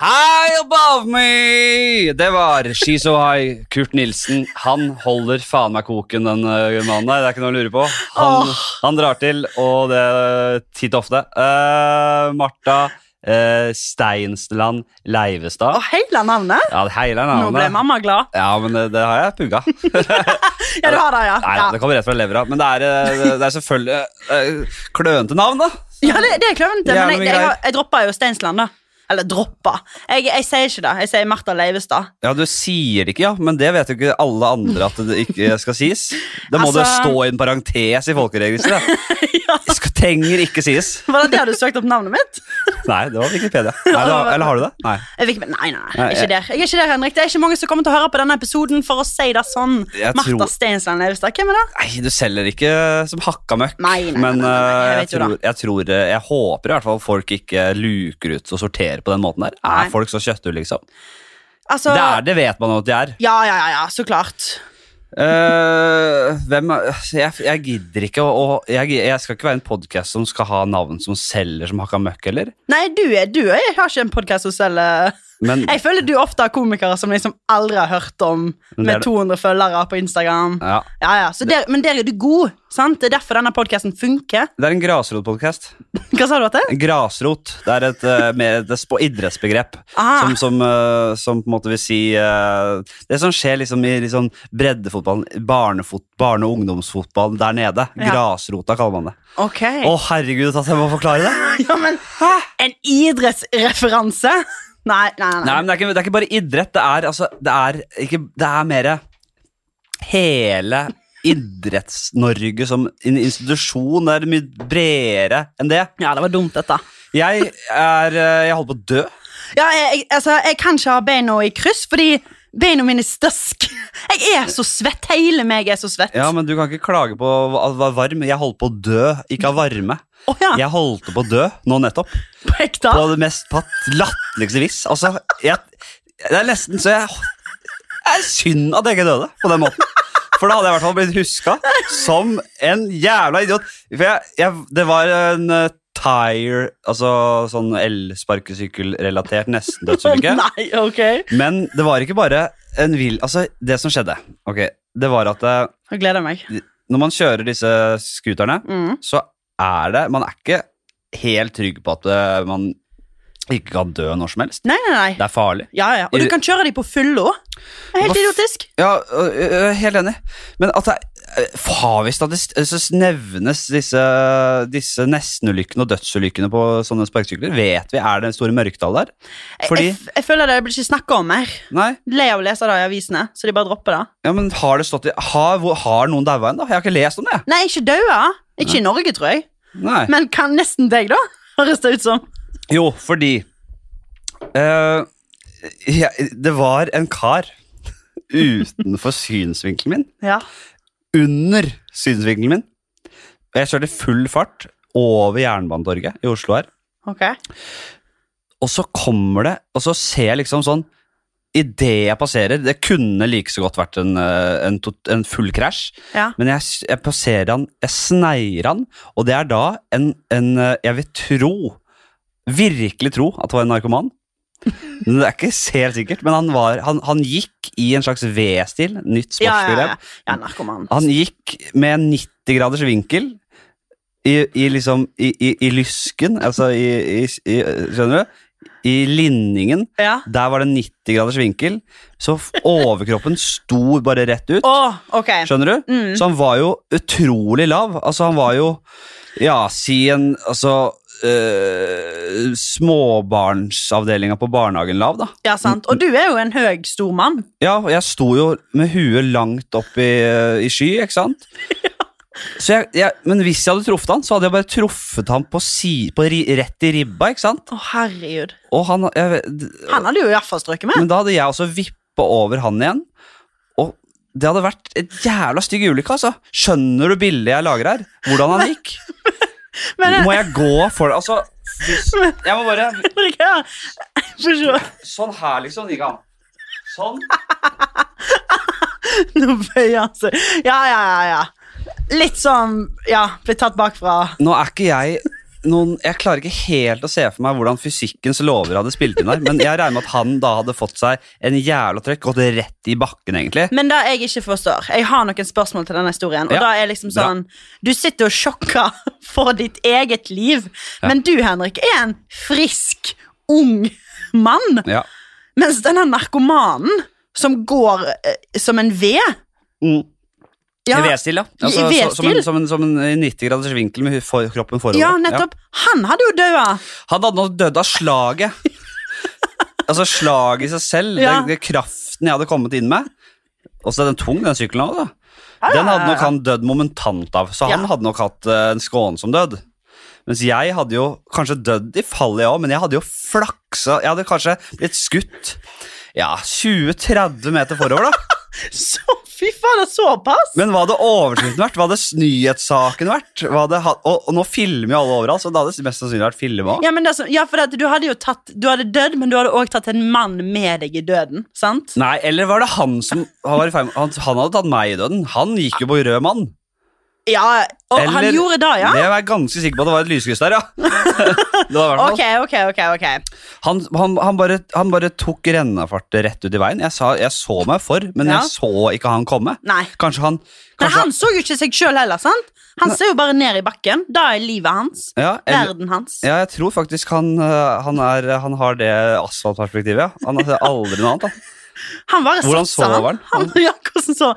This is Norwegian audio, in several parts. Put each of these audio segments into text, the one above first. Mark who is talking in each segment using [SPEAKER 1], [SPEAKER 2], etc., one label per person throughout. [SPEAKER 1] High above me! Det var She's So High, Kurt Nilsen. Han holder faen meg koken, den eh, mannen der. Det er ikke noe å lure på. Han, han drar til, og det er titt og ofte. Eh, Martha eh, Steinsland
[SPEAKER 2] Og
[SPEAKER 1] Leivestad.
[SPEAKER 2] hele navnet.
[SPEAKER 1] Ja, det hele er
[SPEAKER 2] Nå ble
[SPEAKER 1] navnet.
[SPEAKER 2] mamma glad.
[SPEAKER 1] eh. Ja, men det, det har jeg pugga.
[SPEAKER 2] Ja, du har det, ja.
[SPEAKER 1] Nei,
[SPEAKER 2] ja.
[SPEAKER 1] det kommer rett fra levra. Men det er, eh, det er selvfølgelig eh, klønete navn, da.
[SPEAKER 2] Ja, det, det er klønete,
[SPEAKER 1] Jævla
[SPEAKER 2] men
[SPEAKER 1] mye
[SPEAKER 2] jeg, jeg,
[SPEAKER 1] greier.
[SPEAKER 2] har- jeg droppa jo Steinsland, da. Eller droppa. Jeg, jeg sier ikke det. Jeg sier Martha Leivestad.
[SPEAKER 1] Ja, du sier det ikke, ja, men det vet jo ikke alle andre at det ikke skal sies. Det må
[SPEAKER 2] Altså-
[SPEAKER 1] det stå i en parentes i folkeregisteret.
[SPEAKER 2] ja.
[SPEAKER 1] Det skal- Trenger ikke sies.
[SPEAKER 2] Var det der du søkte opp navnet mitt?
[SPEAKER 1] Nei, det var Wikipedia. Nei, det var, eller har du det? Nei.
[SPEAKER 2] Jeg fikk, nei, nei,
[SPEAKER 1] Nei,
[SPEAKER 2] ikke
[SPEAKER 1] jeg-
[SPEAKER 2] der. Jeg er ikke der, Henrik. Det er ikke mange som kommer til å høre på denne episoden for å si det sånn.
[SPEAKER 1] Jeg
[SPEAKER 2] Martha
[SPEAKER 1] tror-
[SPEAKER 2] Steinsland Leivestad, hvem er det?
[SPEAKER 1] Nei, du selger ikke som hakka møkk.
[SPEAKER 2] Nei, nei, nei,
[SPEAKER 1] men
[SPEAKER 2] nei, nei,
[SPEAKER 1] eh,
[SPEAKER 2] jeg
[SPEAKER 1] jeg,
[SPEAKER 2] vet jo
[SPEAKER 1] tror, jeg tror eh, Jeg håper i hvert fall folk ikke luker ut og sorterer på den måten der.
[SPEAKER 2] Nei.
[SPEAKER 1] Er folk så kjøttur, liksom?
[SPEAKER 2] Altså,
[SPEAKER 1] Det er det, vet man jo at de er.
[SPEAKER 2] Ja, ja, ja, ja, så klart.
[SPEAKER 1] Eh, hvem er, jeg, jeg gidder ikke å å- jeg, jeg skal ikke være en podkast som skal ha navn som selger som hakka møkk, heller.
[SPEAKER 2] Nei, du er du. er- Jeg har ikke en podkast som selger
[SPEAKER 1] Men
[SPEAKER 2] Jeg føler du ofte har komikere som liksom aldri har hørt om,
[SPEAKER 1] Men det er
[SPEAKER 2] med
[SPEAKER 1] det.
[SPEAKER 2] 200 følgere på Instagram.
[SPEAKER 1] ja.
[SPEAKER 2] Ja, ja, så der, Men der er du god. sant? Det er derfor denne podkasten funker.
[SPEAKER 1] Det er en grasrotpodkast.
[SPEAKER 2] Hva sa du at det?
[SPEAKER 1] En Grasrot. Det er et eh, mer et sp- idrettsbegrep
[SPEAKER 2] Ah.
[SPEAKER 1] som, som, eh, som på en måte vil si eh, Det som skjer liksom i liksom breddefotballen, barnefot, barne- og ungdomsfotballen der nede.
[SPEAKER 2] Ja.
[SPEAKER 1] Grasrota kaller man det.
[SPEAKER 2] Ok.
[SPEAKER 1] Å, herregud, at jeg må forklare det!
[SPEAKER 2] Ja, men En idrettsreferanse? Nei, nei, nei.
[SPEAKER 1] Nei, men det er ikke, det er ikke bare idrett. Det er, altså, det er, ikke, det er mer hele Idretts-Norge som en institusjon. Det er mye bredere enn det.
[SPEAKER 2] Ja, det var dumt, dette.
[SPEAKER 1] Jeg er eh, Jeg holder på å dø.
[SPEAKER 2] Ja, jeg, jeg- altså, jeg kan ikke ha beina i kryss, fordi beina mine er støsk. Jeg er så svett. Hele meg er så svett.
[SPEAKER 1] Ja, men du kan ikke klage på at det var varm. Jeg holdt på å dø, ikke av varme.
[SPEAKER 2] Å, ja.
[SPEAKER 1] Jeg holdt på å dø nå nettopp,
[SPEAKER 2] På ekte.
[SPEAKER 1] på det mest pat- latterligste vis. Altså, jeg, det er nesten så jeg Det er synd at jeg ikke døde på den måten. For da hadde jeg i hvert fall blitt huska som en jævla idiot. For jeg, jeg, det var en eh, tire, altså sånn elsparkesykkelrelatert nesten-dødsulykke.
[SPEAKER 2] Nei, ok.
[SPEAKER 1] Men det var ikke bare en vill Altså, det som skjedde, ok, det var at eh,
[SPEAKER 2] Jeg gleder meg.
[SPEAKER 1] når man kjører disse skuterne,
[SPEAKER 2] Mm.
[SPEAKER 1] så er det Man er ikke helt trygg på at eh, man ikke kan dø når som helst.
[SPEAKER 2] Nei, nei, nei.
[SPEAKER 1] Det er farlig.
[SPEAKER 2] Ja, ja. Og du kan kjøre de på fylla. Det er Helt
[SPEAKER 1] Hva f-
[SPEAKER 2] idiotisk.
[SPEAKER 1] Ja, ø- ø- ø, helt enig. Men at det er eh, ø, Faen, hvis det hadde- eh, så nevnes disse, disse nestenulykkene og dødsulykkene på sånne sparkesykler, vet vi er det store mørketallet der?
[SPEAKER 2] Jeg-
[SPEAKER 1] Fordi
[SPEAKER 2] Jeg, f- jeg føler det blir ikke snakka om mer.
[SPEAKER 1] Nei,
[SPEAKER 2] Lei av å lese det i avisene, så de bare dropper det.
[SPEAKER 1] ja, men har det stått i Har, hvor- har noen daua en, da? Jeg har ikke lest om det. jeg.
[SPEAKER 2] Nei, ikke daua. Ikke i Norge, tror jeg.
[SPEAKER 1] Nei.
[SPEAKER 2] Men kan nesten deg, da? Høres det ut som.
[SPEAKER 1] Jo, fordi eh, jeg, Det var en kar utenfor synsvinkelen min.
[SPEAKER 2] Ja.
[SPEAKER 1] Under synsvinkelen min. Og jeg kjørte full fart over Jernbanetorget i Oslo her.
[SPEAKER 2] Ok.
[SPEAKER 1] Og så kommer det, og så ser jeg liksom sånn Idet jeg passerer Det kunne like så godt vært en, eh, en, tot- en full krasj.
[SPEAKER 2] Ja.
[SPEAKER 1] Men jeg, jeg passerer han, jeg sneier han, og det er da en, en eh, Jeg vil tro, virkelig tro, at det var en narkoman. Men Det er ikke helt sikkert, men han, var, han, han gikk i en slags V-stil. Nytt
[SPEAKER 2] Ja, ja,
[SPEAKER 1] sportsprogram.
[SPEAKER 2] ja. ja narkoman.
[SPEAKER 1] Han gikk med en 90 graders vinkel i, i liksom i, i, i lysken, altså i, i, i Skjønner du? I linningen.
[SPEAKER 2] Ja.
[SPEAKER 1] Der var det 90 graders vinkel, så f- overkroppen sto bare rett ut.
[SPEAKER 2] Å, ok.
[SPEAKER 1] Skjønner du?
[SPEAKER 2] Mm.
[SPEAKER 1] Så han var jo utrolig lav. Altså, han var jo Ja, si en Altså øh, Småbarnsavdelinga på barnehagen lav, da.
[SPEAKER 2] Ja, sant. Og du er jo en høy, stor mann.
[SPEAKER 1] Ja, og jeg sto jo med huet langt opp i, eh, i sky, ikke sant? Så jeg, jeg, men hvis jeg hadde truffet han, så hadde jeg bare truffet han på si, på ri, rett i ribba, ikke sant?
[SPEAKER 2] Å, herregud.
[SPEAKER 1] Og han, jeg, vet-
[SPEAKER 2] Han hadde jo iallfall strøket med.
[SPEAKER 1] men da hadde jeg også vippet over han igjen, og det hadde vært et jævla stygg ulykke, altså. Skjønner du bildet jeg lager her? Hvordan han gikk?
[SPEAKER 2] men-
[SPEAKER 1] Må jeg gå for det? Altså, hvis- jeg må bare...
[SPEAKER 2] Henrik, ja. Få se.
[SPEAKER 1] Sånn her liksom gikk han. Sånn.
[SPEAKER 2] Nå bøyer han seg. Ja, ja, ja. ja. Litt sånn Ja, blitt tatt bakfra.
[SPEAKER 1] Nå er ikke jeg noen Jeg klarer ikke helt å se for meg hvordan fysikkens lover hadde spilt inn her, men jeg regner med at han da hadde fått seg en jævla trøkk, gått rett i bakken, egentlig.
[SPEAKER 2] Men det jeg ikke forstår Jeg har noen spørsmål til denne historien. Og
[SPEAKER 1] Ja.
[SPEAKER 2] da er liksom
[SPEAKER 1] Bra.
[SPEAKER 2] sånn Du sitter og sjokker for ditt eget liv, men du, Henrik, er en frisk, ung mann.
[SPEAKER 1] Ja.
[SPEAKER 2] Mens denne narkomanen som går eh, som en ved
[SPEAKER 1] Mm.
[SPEAKER 2] ja,
[SPEAKER 1] I V-stil, ja. Altså,
[SPEAKER 2] I
[SPEAKER 1] så- Som en,
[SPEAKER 2] V-stil.
[SPEAKER 1] som en, som en 90-graders vinkel med hu- for, kroppen forover.
[SPEAKER 2] ja, nettopp. Han hadde jo daua.
[SPEAKER 1] Ja. Han hadde nå dødd av slaget. altså slaget i seg selv,
[SPEAKER 2] Ja.
[SPEAKER 1] den, den kraften jeg hadde kommet inn med. Og så er den tung, den sykkelen òg, da. Den hadde nok han dødd momentant av, så han
[SPEAKER 2] Ja.
[SPEAKER 1] hadde nok hatt eh, en skånsom død. Mens jeg hadde jo kanskje dødd i fallet, jeg òg, men jeg hadde jo flaksa Jeg hadde kanskje blitt skutt ja, 20-30 meter forover, da.
[SPEAKER 2] Så fy faen, det er såpass!
[SPEAKER 1] Men hva hadde overskriften vært? Hva hadde s- nyhetssaken vært? Hva hadde, ha- og, og nå filmer jo alle overalt, så det hadde mest sannsynlig vært film òg.
[SPEAKER 2] Ja, men det, er så- ja, for at du hadde jo tatt Du hadde dødd, men du hadde òg tatt en mann med deg i døden, sant?
[SPEAKER 1] Nei, eller var det han som han, var i feil, han, han hadde tatt meg i døden. Han gikk jo på rød mann.
[SPEAKER 2] Ja, og han
[SPEAKER 1] Eller-
[SPEAKER 2] gjorde det, ja?
[SPEAKER 1] Det var jeg ganske sikker på at det var et lyskryss der, ja. det var i hvert fall.
[SPEAKER 2] Ok, ok, ok, ok
[SPEAKER 1] han, han, han, bare, han bare tok rennafartet rett ut i veien. Jeg, sa, jeg så meg for, men
[SPEAKER 2] Ja.
[SPEAKER 1] jeg så ikke han komme.
[SPEAKER 2] Nei.
[SPEAKER 1] Kanskje han
[SPEAKER 2] Men
[SPEAKER 1] kanskje,
[SPEAKER 2] han så jo ikke seg sjøl heller, sant? Han ser jo bare ned i bakken. Da er livet hans.
[SPEAKER 1] ja, eller,
[SPEAKER 2] Verden hans.
[SPEAKER 1] ja, jeg tror faktisk han, øh, han, er, han har det asfaltperspektivet, ja. Han ser aldri noe annet. Da.
[SPEAKER 2] Han bare
[SPEAKER 1] Hvordan
[SPEAKER 2] satser,
[SPEAKER 1] sover han?
[SPEAKER 2] han? Ja, hvordan så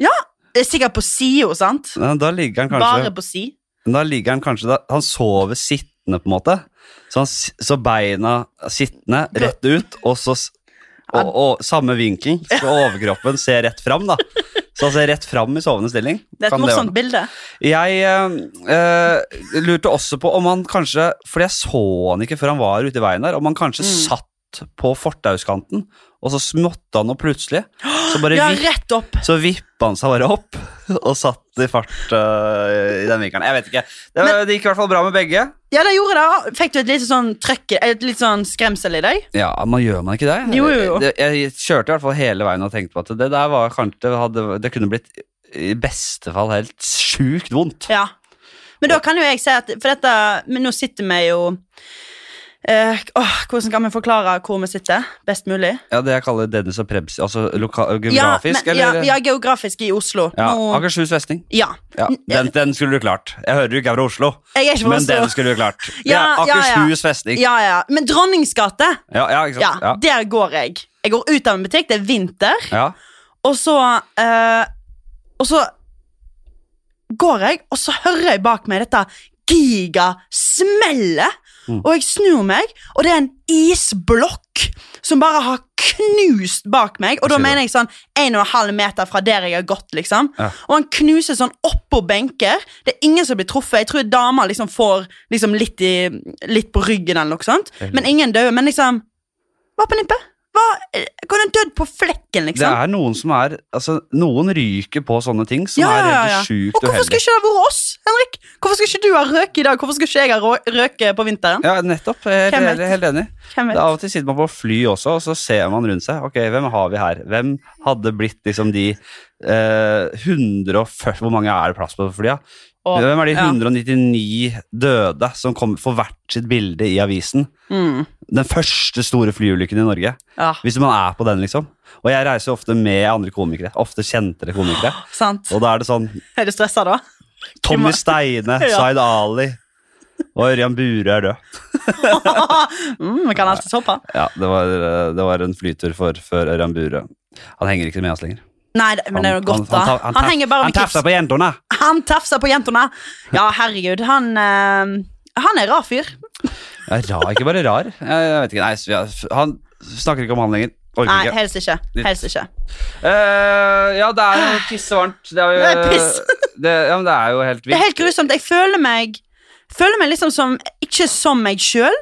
[SPEAKER 2] Ja, det er sikkert på sida, sant?
[SPEAKER 1] Men Da ligger han
[SPEAKER 2] Bare
[SPEAKER 1] kanskje,
[SPEAKER 2] på si.
[SPEAKER 1] men da ligger han, kanskje da, han sover sittende, på en måte. Så, han, s- så beina sittende rett ut, og så s- og, og samme vinkel, så overkroppen ser rett fram, da. Så han ser rett fram i sovende stilling.
[SPEAKER 2] Det er et
[SPEAKER 1] Kan være
[SPEAKER 2] morsomt bilde.
[SPEAKER 1] Jeg eh, eh, lurte også på om han kanskje Fordi jeg så han ikke før han var ute i veien der. Om han kanskje
[SPEAKER 2] Mm.
[SPEAKER 1] satt på fortauskanten, og så småtte han og plutselig. Så bare
[SPEAKER 2] Ja,
[SPEAKER 1] vipp-
[SPEAKER 2] rett opp.
[SPEAKER 1] så vippa han seg bare opp og satt i fart eh, i den vinkelen. Jeg vet ikke. Det, det gikk i hvert fall bra med begge.
[SPEAKER 2] Ja, det gjorde det. Fikk du et lite sånn trøkk Et litt sånn skremsel i deg?
[SPEAKER 1] Ja, men gjør man ikke det?
[SPEAKER 2] Jo, jo, jo.
[SPEAKER 1] Det, jeg kjørte i hvert fall hele veien og tenkte på at det der var kanskje Det, hadde, det kunne blitt i beste fall helt sjukt vondt.
[SPEAKER 2] Ja. Men da kan jo jeg si at For dette Men nå sitter vi jo eh, åh, Hvordan kan vi forklare hvor vi sitter best mulig?
[SPEAKER 1] Ja, det jeg kaller Dennis og Prebz, altså loka
[SPEAKER 2] Ja,
[SPEAKER 1] geografisk,
[SPEAKER 2] men, ja,
[SPEAKER 1] eller?
[SPEAKER 2] ja, geografisk i Oslo.
[SPEAKER 1] Ja,
[SPEAKER 2] Nå,
[SPEAKER 1] Akershus Vestning.
[SPEAKER 2] ja.
[SPEAKER 1] Ja, den, den skulle du klart. Jeg hører du ikke er fra Oslo,
[SPEAKER 2] Jeg er ikke
[SPEAKER 1] men
[SPEAKER 2] fra
[SPEAKER 1] den
[SPEAKER 2] Oslo.
[SPEAKER 1] skulle du klart. Det
[SPEAKER 2] Ja,
[SPEAKER 1] er
[SPEAKER 2] ja, ja.
[SPEAKER 1] Akershus Vestning.
[SPEAKER 2] Ja, ja. Men Dronnings gate,
[SPEAKER 1] Ja, ja, ikke
[SPEAKER 2] ja,
[SPEAKER 1] sant? Ja.
[SPEAKER 2] der går jeg. Jeg går ut av en butikk, det er vinter,
[SPEAKER 1] Ja.
[SPEAKER 2] og så eh, Og så går jeg, og så hører jeg bak meg dette gigasmellet,
[SPEAKER 1] Mm.
[SPEAKER 2] og jeg snur meg, og det er en isblokk som bare har knust bak meg, og da
[SPEAKER 1] Hva sier du?
[SPEAKER 2] mener jeg sånn 1,5 meter fra der jeg har gått, liksom.
[SPEAKER 1] Ja.
[SPEAKER 2] Og han knuser sånn oppå benker. Det er ingen som blir truffet. Jeg tror dama liksom får liksom litt, i, litt på ryggen eller noe sånt. Men ingen døde. Men liksom Hva på nippet? Hva, eh, går den dødd på flekken,
[SPEAKER 1] Det
[SPEAKER 2] liksom?
[SPEAKER 1] er noen som er Altså, noen ryker på sånne ting som
[SPEAKER 2] Ja, ja,
[SPEAKER 1] er
[SPEAKER 2] ja, ja.
[SPEAKER 1] helt sjukt
[SPEAKER 2] Og hvorfor skulle
[SPEAKER 1] uheldig.
[SPEAKER 2] ikke det ha vært oss, Henrik? Hvorfor skulle ikke du ha røket i dag? Hvorfor skulle ikke jeg ha rå- røket på vinteren?
[SPEAKER 1] Ja, nettopp. Jeg
[SPEAKER 2] Hvem
[SPEAKER 1] er
[SPEAKER 2] vet?
[SPEAKER 1] helt- helt enig. Det
[SPEAKER 2] Hvem vet?
[SPEAKER 1] er av og til sitter man på fly også, og så ser man rundt seg. Ok, hvem har vi her? Hvem hadde blitt liksom de eh, 140 Hvor mange er det plass på flya?
[SPEAKER 2] Og-
[SPEAKER 1] Hvem er de
[SPEAKER 2] ja.
[SPEAKER 1] 199 døde som kom for hvert sitt bilde i avisen?
[SPEAKER 2] Mm.
[SPEAKER 1] Den første store flyulykken i Norge.
[SPEAKER 2] Ja,
[SPEAKER 1] Hvis man er på den, liksom. Og jeg reiser ofte med andre komikere. Ofte kjentere komikere.
[SPEAKER 2] sant.
[SPEAKER 1] Og da er det sånn
[SPEAKER 2] Er du stressa da?
[SPEAKER 1] Tommy Steine,
[SPEAKER 2] Ja.
[SPEAKER 1] Zaid Ali og Ørjan Bure er død.
[SPEAKER 2] mm, vi kan alltids hoppe.
[SPEAKER 1] Ja, det var, eh, det var en flytur for, før Ørjan Bure. Han henger ikke med oss lenger.
[SPEAKER 2] Nei, det- men det er jo godt, da.
[SPEAKER 1] han,
[SPEAKER 2] Han,
[SPEAKER 1] han, taf-
[SPEAKER 2] henger bare
[SPEAKER 1] han
[SPEAKER 2] med kips.
[SPEAKER 1] tafsa på jentene!
[SPEAKER 2] Han tafser på jentene. Ja, herregud. Han, eh, han er rar fyr.
[SPEAKER 1] Ja, rar, ikke bare rar. Jeg, jeg vet ikke, nei, så jeg- Han snakker ikke om han lenger. Orker
[SPEAKER 2] Nei,
[SPEAKER 1] ikke.
[SPEAKER 2] helst ikke. Helst ikke.
[SPEAKER 1] Eh, ja, det er jo pissevarmt. Det er jo
[SPEAKER 2] Ah. Det er piss.
[SPEAKER 1] det, ja, men det er jo helt
[SPEAKER 2] Det er
[SPEAKER 1] vilt.
[SPEAKER 2] helt grusomt. Jeg føler meg Føler meg liksom som Ikke som meg sjøl.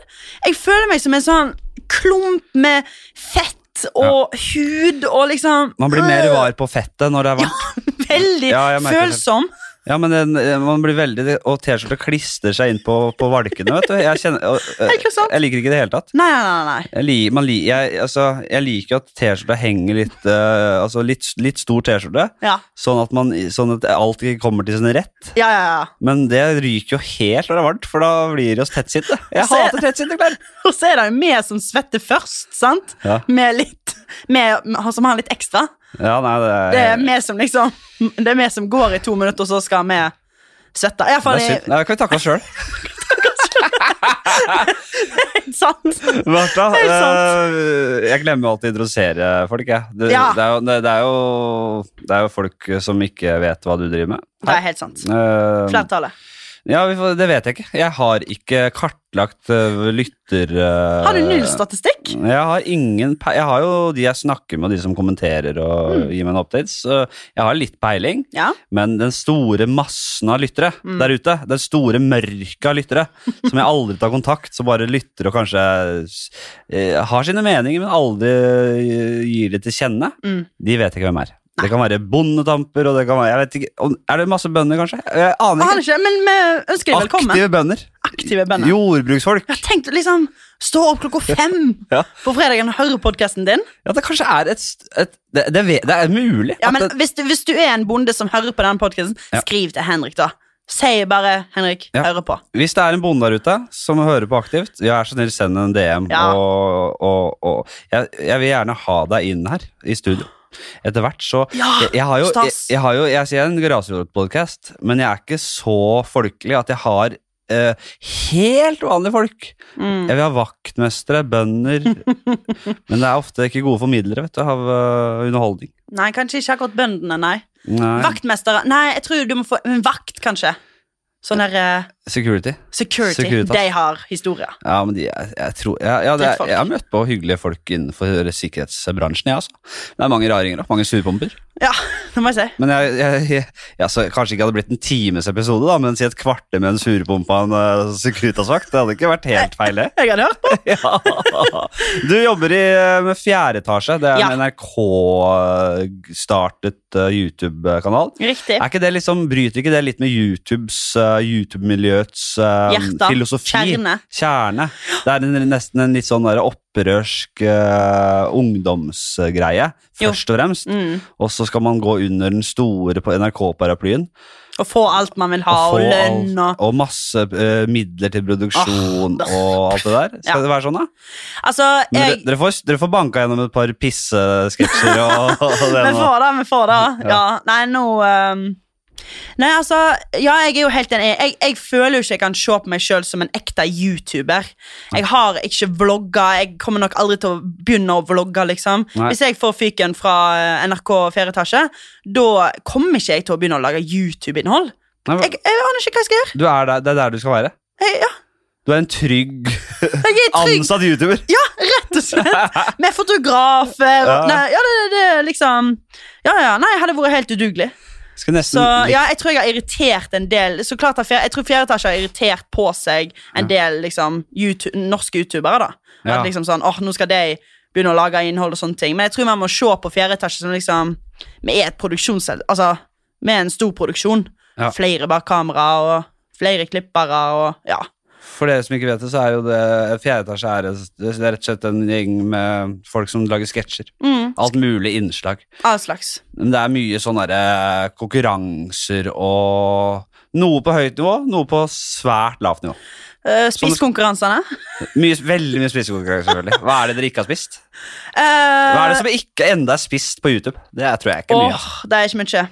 [SPEAKER 2] Jeg føler meg som en sånn klump med fett og hud og liksom Øh,
[SPEAKER 1] Man blir mer var på fettet når det er varmt.
[SPEAKER 2] Veldig
[SPEAKER 1] Ja, jeg merker det.
[SPEAKER 2] følsom.
[SPEAKER 1] Ja, men den, eh, man blir veldig Og T-skjorte klistrer seg inn på, på valkene, vet du. Jeg, kjenner, og, eh,
[SPEAKER 2] Helt sant.
[SPEAKER 1] jeg liker ikke det i det hele tatt.
[SPEAKER 2] Nei, nei, nei. nei.
[SPEAKER 1] Jeg, li, man li, jeg, altså, jeg liker at T-skjorta henger litt eh, Altså litt, litt stor T-skjorte,
[SPEAKER 2] Ja.
[SPEAKER 1] sånn at, man, sånn at alt ikke kommer til sin rett.
[SPEAKER 2] Ja, ja, ja.
[SPEAKER 1] Men det ryker jo helt når det er varmt, for da blir det oss tettsitte. Jeg
[SPEAKER 2] Og så-
[SPEAKER 1] hater tettsitte klær!
[SPEAKER 2] Og så er det jo vi som svetter først, sant?
[SPEAKER 1] Ja.
[SPEAKER 2] Med litt med, Som har litt ekstra.
[SPEAKER 1] Ja, nei, det er,
[SPEAKER 2] Det er vi som liksom Det er vi som går i to minutter, og så skal vi svette.
[SPEAKER 1] det
[SPEAKER 2] Iallfall
[SPEAKER 1] er synd. Nei, det kan vi takke oss sjøl.
[SPEAKER 2] sant.
[SPEAKER 1] Martha,
[SPEAKER 2] Helt
[SPEAKER 1] eh, jeg glemmer jo alltid å introdusere folk, jeg. Det,
[SPEAKER 2] Ja.
[SPEAKER 1] det, er jo, det, det, er jo, det er jo folk som ikke vet hva du driver med.
[SPEAKER 2] Det er helt sant.
[SPEAKER 1] Eh,
[SPEAKER 2] Flertallet.
[SPEAKER 1] ja, vi får, det vet jeg ikke. Jeg har ikke kartlagt eh, lytter... eh,
[SPEAKER 2] Har du null statistikk?
[SPEAKER 1] Jeg har ingen pe Jeg har jo de jeg snakker med, og de som kommenterer og
[SPEAKER 2] Mm.
[SPEAKER 1] gir meg en updates. så jeg har litt peiling,
[SPEAKER 2] Ja.
[SPEAKER 1] men den store massen av lyttere
[SPEAKER 2] Mm.
[SPEAKER 1] der ute, den store mørket av lyttere, som jeg aldri tar kontakt, som bare lytter og kanskje eh, har sine meninger, men aldri eh, gir det til kjenne,
[SPEAKER 2] Mm.
[SPEAKER 1] de vet ikke hvem er. Det kan være bondetamper, og det kan være jeg vet ikke, om- Er det masse bønder, kanskje? Jeg aner
[SPEAKER 2] Har
[SPEAKER 1] ikke.
[SPEAKER 2] du ikke? Men vi ønsker deg velkommen.
[SPEAKER 1] Aktive bønder.
[SPEAKER 2] Aktive bønder.
[SPEAKER 1] Jordbruksfolk.
[SPEAKER 2] Tenk liksom stå opp klokka fem
[SPEAKER 1] Ja.
[SPEAKER 2] på fredagen og høre podkasten din.
[SPEAKER 1] Ja, det kanskje er et, st- et det, det, vet- det er mulig.
[SPEAKER 2] Ja,
[SPEAKER 1] at
[SPEAKER 2] men
[SPEAKER 1] det-
[SPEAKER 2] hvis du, hvis du er en bonde som hører på den podkasten,
[SPEAKER 1] Ja.
[SPEAKER 2] skriv til Henrik, da. Si bare 'Henrik,
[SPEAKER 1] Ja.
[SPEAKER 2] hører på'.
[SPEAKER 1] Hvis det er en bonde der ute som hører på aktivt, ja, vær så snill, send en DM.
[SPEAKER 2] Ja.
[SPEAKER 1] Og, og, og jeg, jeg vil gjerne ha deg inn her i studio. Etter hvert så
[SPEAKER 2] Ja,
[SPEAKER 1] jeg, jeg har jo, jeg,
[SPEAKER 2] stas.
[SPEAKER 1] jeg har jo Jeg sier en grasrotpodkast, men jeg er ikke så folkelig at jeg har eh, helt vanlige folk.
[SPEAKER 2] Mm.
[SPEAKER 1] Jeg vil ha vaktmestere, bønder Men det er ofte ikke gode formidlere vet du, av eh, underholdning.
[SPEAKER 2] Nei, kanskje ikke akkurat bøndene, nei.
[SPEAKER 1] Nei,
[SPEAKER 2] Vaktmestere Nei, jeg tror du må få en vakt, kanskje. Sånn der eh,
[SPEAKER 1] security.
[SPEAKER 2] security.
[SPEAKER 1] Securitas.
[SPEAKER 2] De har historier.
[SPEAKER 1] Ja, men de, jeg, jeg tror ja, ja, det, er-
[SPEAKER 2] Drittfolk.
[SPEAKER 1] Jeg har møtt på hyggelige folk innenfor sikkerhetsbransjen, jeg, altså. Det er mange raringer og mange surpomper.
[SPEAKER 2] Ja, det må jeg si.
[SPEAKER 1] Men jeg, jeg, jeg, ja, så kanskje ikke hadde blitt en times episode, da, men si et kvarter med en surpompe av en uh, Securitas-vakt. Det hadde ikke vært helt feil, det.
[SPEAKER 2] Jeg hadde hørt på.
[SPEAKER 1] Ja. Du jobber i eh, med fjerde etasje. Det er en NRK-startet eh, YouTube-kanal.
[SPEAKER 2] Riktig.
[SPEAKER 1] Er ikke det liksom, Bryter ikke det litt med YouTubes, eh, YouTube-miljøets eh,
[SPEAKER 2] Hjerta.
[SPEAKER 1] filosofi?
[SPEAKER 2] Kjerne.
[SPEAKER 1] Kjerne. Det er en, nesten en litt sånn der opprørsk eh, ungdomsgreie,
[SPEAKER 2] Jo.
[SPEAKER 1] først og fremst.
[SPEAKER 2] Mm.
[SPEAKER 1] Og så skal man gå under den store på NRK-paraplyen.
[SPEAKER 2] Og få alt man vil ha,
[SPEAKER 1] få
[SPEAKER 2] og,
[SPEAKER 1] alt-
[SPEAKER 2] lønn og
[SPEAKER 1] og masse eh, midler til produksjon
[SPEAKER 2] Åh,
[SPEAKER 1] og alt det der. Skal
[SPEAKER 2] Ja.
[SPEAKER 1] det være sånn, da?
[SPEAKER 2] Altså,
[SPEAKER 1] Men
[SPEAKER 2] jeg
[SPEAKER 1] dere, dere, får, dere får banka gjennom et par pissesketsjer og, og det
[SPEAKER 2] Vi
[SPEAKER 1] nå.
[SPEAKER 2] får det, vi får det.
[SPEAKER 1] Ja.
[SPEAKER 2] Ja. Nei, nå ehm, Nei, altså Ja, jeg er jo helt enig. Jeg, jeg føler jo ikke jeg kan se på meg sjøl som en ekte YouTuber. Jeg har ikke vlogga. Jeg kommer nok aldri til å begynne å vlogge, liksom.
[SPEAKER 1] Nei.
[SPEAKER 2] Hvis jeg får fyken fra eh, NRK 4 etasje, da kommer ikke jeg til å begynne å lage YouTube-innhold.
[SPEAKER 1] Nei, men
[SPEAKER 2] Jeg, jeg aner ikke hva jeg skal gjøre.
[SPEAKER 1] Du er der, det er der du skal være.
[SPEAKER 2] Jeg, ja,
[SPEAKER 1] Du er en trygg,
[SPEAKER 2] jeg er trygg,
[SPEAKER 1] ansatt YouTuber.
[SPEAKER 2] rett og slett. Med fotografer
[SPEAKER 1] Ja.
[SPEAKER 2] og Nei, ja, det, det er liksom Ja, ja. Nei, jeg hadde vært helt udugelig.
[SPEAKER 1] Skal nesten
[SPEAKER 2] Så
[SPEAKER 1] Mm, litt-
[SPEAKER 2] ja, jeg tror jeg har irritert en del Så klart har fjerde, Jeg tror fjerde etasje har irritert på seg En del liksom YouTube, norske youtubere da
[SPEAKER 1] Ja.
[SPEAKER 2] At liksom sånn, åh nå skal de begynne å lage innhold og sånne ting Men jeg tror man må se på fjerde etasje som liksom Vi er et produksjonssel Altså, vi er en stor produksjon
[SPEAKER 1] Ja.
[SPEAKER 2] Flere bak kamera og flere klippere og ja
[SPEAKER 1] For dere som ikke vet det, så er jo det fjerde etasje er, det er rett og slett en gjeng med folk som lager sketsjer.
[SPEAKER 2] mm,
[SPEAKER 1] Alt mulig innslag.
[SPEAKER 2] All slags
[SPEAKER 1] Men det er mye sånne derre konkurranser og Noe på høyt nivå, noe på svært lavt nivå.
[SPEAKER 2] Eh,
[SPEAKER 1] Sånn-
[SPEAKER 2] Spiskonkurransene
[SPEAKER 1] Mye, veldig mye spisekonkurranse, selvfølgelig. Hva er det dere ikke har spist?
[SPEAKER 2] Eh,
[SPEAKER 1] Hva er det som ikke enda er spist på YouTube? Det tror jeg ikke er mye.
[SPEAKER 2] Åh, det er ikke mye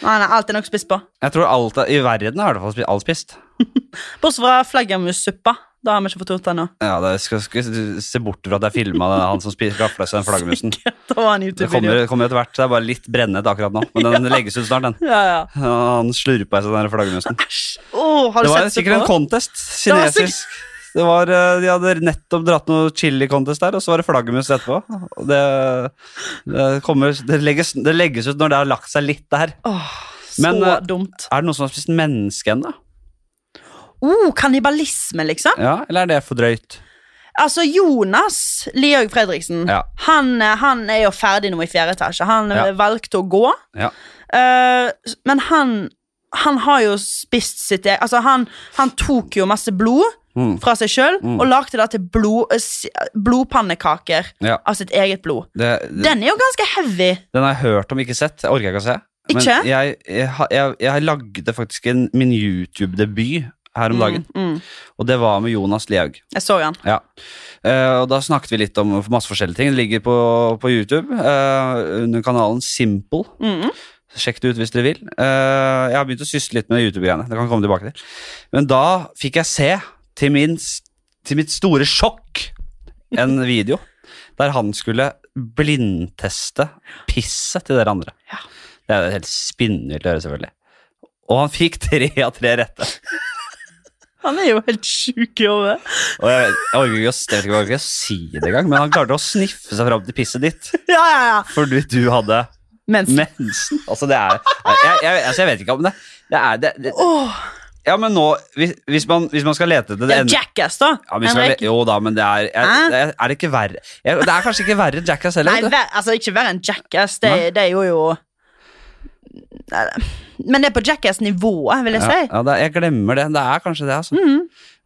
[SPEAKER 2] Nei, nei, alt er nok spist på
[SPEAKER 1] Jeg tror alt er, I verden er i hvert fall spi- alt spist.
[SPEAKER 2] Bortsett fra flaggermussuppa Da har vi ikke fått gjort det nå
[SPEAKER 1] Ja, det skal, skal se bort fra at det er filma han som spiser gafla seg den flaggermusen.
[SPEAKER 2] Det var en
[SPEAKER 1] Det kommer,
[SPEAKER 2] YouTube-video
[SPEAKER 1] kommer etter hvert. Det er bare litt brennende akkurat nå, men den legges ut snart, den.
[SPEAKER 2] Ja, ja.
[SPEAKER 1] Han slurpa i seg den der flaggermusen.
[SPEAKER 2] Æsj. Åh, har du
[SPEAKER 1] Det var
[SPEAKER 2] sett det
[SPEAKER 1] sikkert en
[SPEAKER 2] på?
[SPEAKER 1] contest.
[SPEAKER 2] Det var
[SPEAKER 1] Kinesisk. Det var, eh, de hadde nettopp dratt noe chili-contest der, og så var det flaggermus etterpå. Og Det, det, kommer, det, legges, det legges ut når det har lagt seg litt der.
[SPEAKER 2] Åh, så
[SPEAKER 1] Men, eh,
[SPEAKER 2] dumt.
[SPEAKER 1] Er det noen som har spist menneske ennå?
[SPEAKER 2] Oh, kannibalisme, liksom.
[SPEAKER 1] Ja, eller er det for drøyt?
[SPEAKER 2] Altså, Jonas Lihaug Fredriksen
[SPEAKER 1] Ja.
[SPEAKER 2] han, eh, han er jo ferdig nå i fjerde etasje. Han eh,
[SPEAKER 1] Ja.
[SPEAKER 2] valgte å gå,
[SPEAKER 1] Ja.
[SPEAKER 2] Eh, s- men han han har jo spist sitt e- Altså, han, han tok jo masse blod
[SPEAKER 1] Mm.
[SPEAKER 2] fra seg sjøl
[SPEAKER 1] Mm.
[SPEAKER 2] og lagde det til blod, eh, s- blodpannekaker
[SPEAKER 1] Ja.
[SPEAKER 2] av sitt eget blod.
[SPEAKER 1] Det, det,
[SPEAKER 2] Den er jo ganske heavy.
[SPEAKER 1] den har jeg hørt om, ikke sett. Jeg orker ikke å se. Men
[SPEAKER 2] Ikke?
[SPEAKER 1] jeg, jeg, har- jeg, jeg lagde faktisk en, min YouTube-debut her om dagen,
[SPEAKER 2] Mm, mm.
[SPEAKER 1] og det var med Jonas Lihaug.
[SPEAKER 2] Jeg så jo han.
[SPEAKER 1] Ja. Eh, og da snakket vi litt om masse forskjellige ting. Det ligger på, på YouTube eh, under kanalen Simple.
[SPEAKER 2] Mm, mm.
[SPEAKER 1] Sjekk det ut hvis dere vil. Eh, jeg har begynt å sysle litt med YouTube-greiene. Det kan jeg komme tilbake til. Men da fikk jeg se, til, min, s- til mitt store sjokk, en video der han skulle blindteste pisset til dere andre.
[SPEAKER 2] Ja.
[SPEAKER 1] Det er jo helt spinnvilt å gjøre, selvfølgelig. Og han fikk tre av tre rette.
[SPEAKER 2] Han er jo helt sjuk i hodet.
[SPEAKER 1] Og jeg, jeg orker ikke å, jeg vet ikke, jeg orker ikke å si det engang, men han klarte å sniffe seg fram til pisset ditt
[SPEAKER 2] Ja, ja, ja.
[SPEAKER 1] fordi du hadde
[SPEAKER 2] Mens
[SPEAKER 1] mensen. Altså, det er Jeg, jeg, altså, jeg vet ikke om det det er det, det,
[SPEAKER 2] Åh,
[SPEAKER 1] Ja, men nå Hvis, hvis, man, hvis man skal lete etter
[SPEAKER 2] det
[SPEAKER 1] det
[SPEAKER 2] er
[SPEAKER 1] ene
[SPEAKER 2] Jackass, da.
[SPEAKER 1] ja, men skal,
[SPEAKER 2] Henrik.
[SPEAKER 1] le- Jo da, men det er
[SPEAKER 2] Hæ?
[SPEAKER 1] jeg, det er, er det ikke verre jeg, Det er kanskje ikke verre enn Jackass heller.
[SPEAKER 2] Nei,
[SPEAKER 1] vet du?
[SPEAKER 2] ver, altså ikke verre enn Jackass. Det,
[SPEAKER 1] Nei.
[SPEAKER 2] det er jo jo Nei, det- Men det er på Jackass-nivået, vil jeg
[SPEAKER 1] ja,
[SPEAKER 2] si.
[SPEAKER 1] ja, det, er- jeg glemmer det. Det er kanskje det, altså.
[SPEAKER 2] Mhm.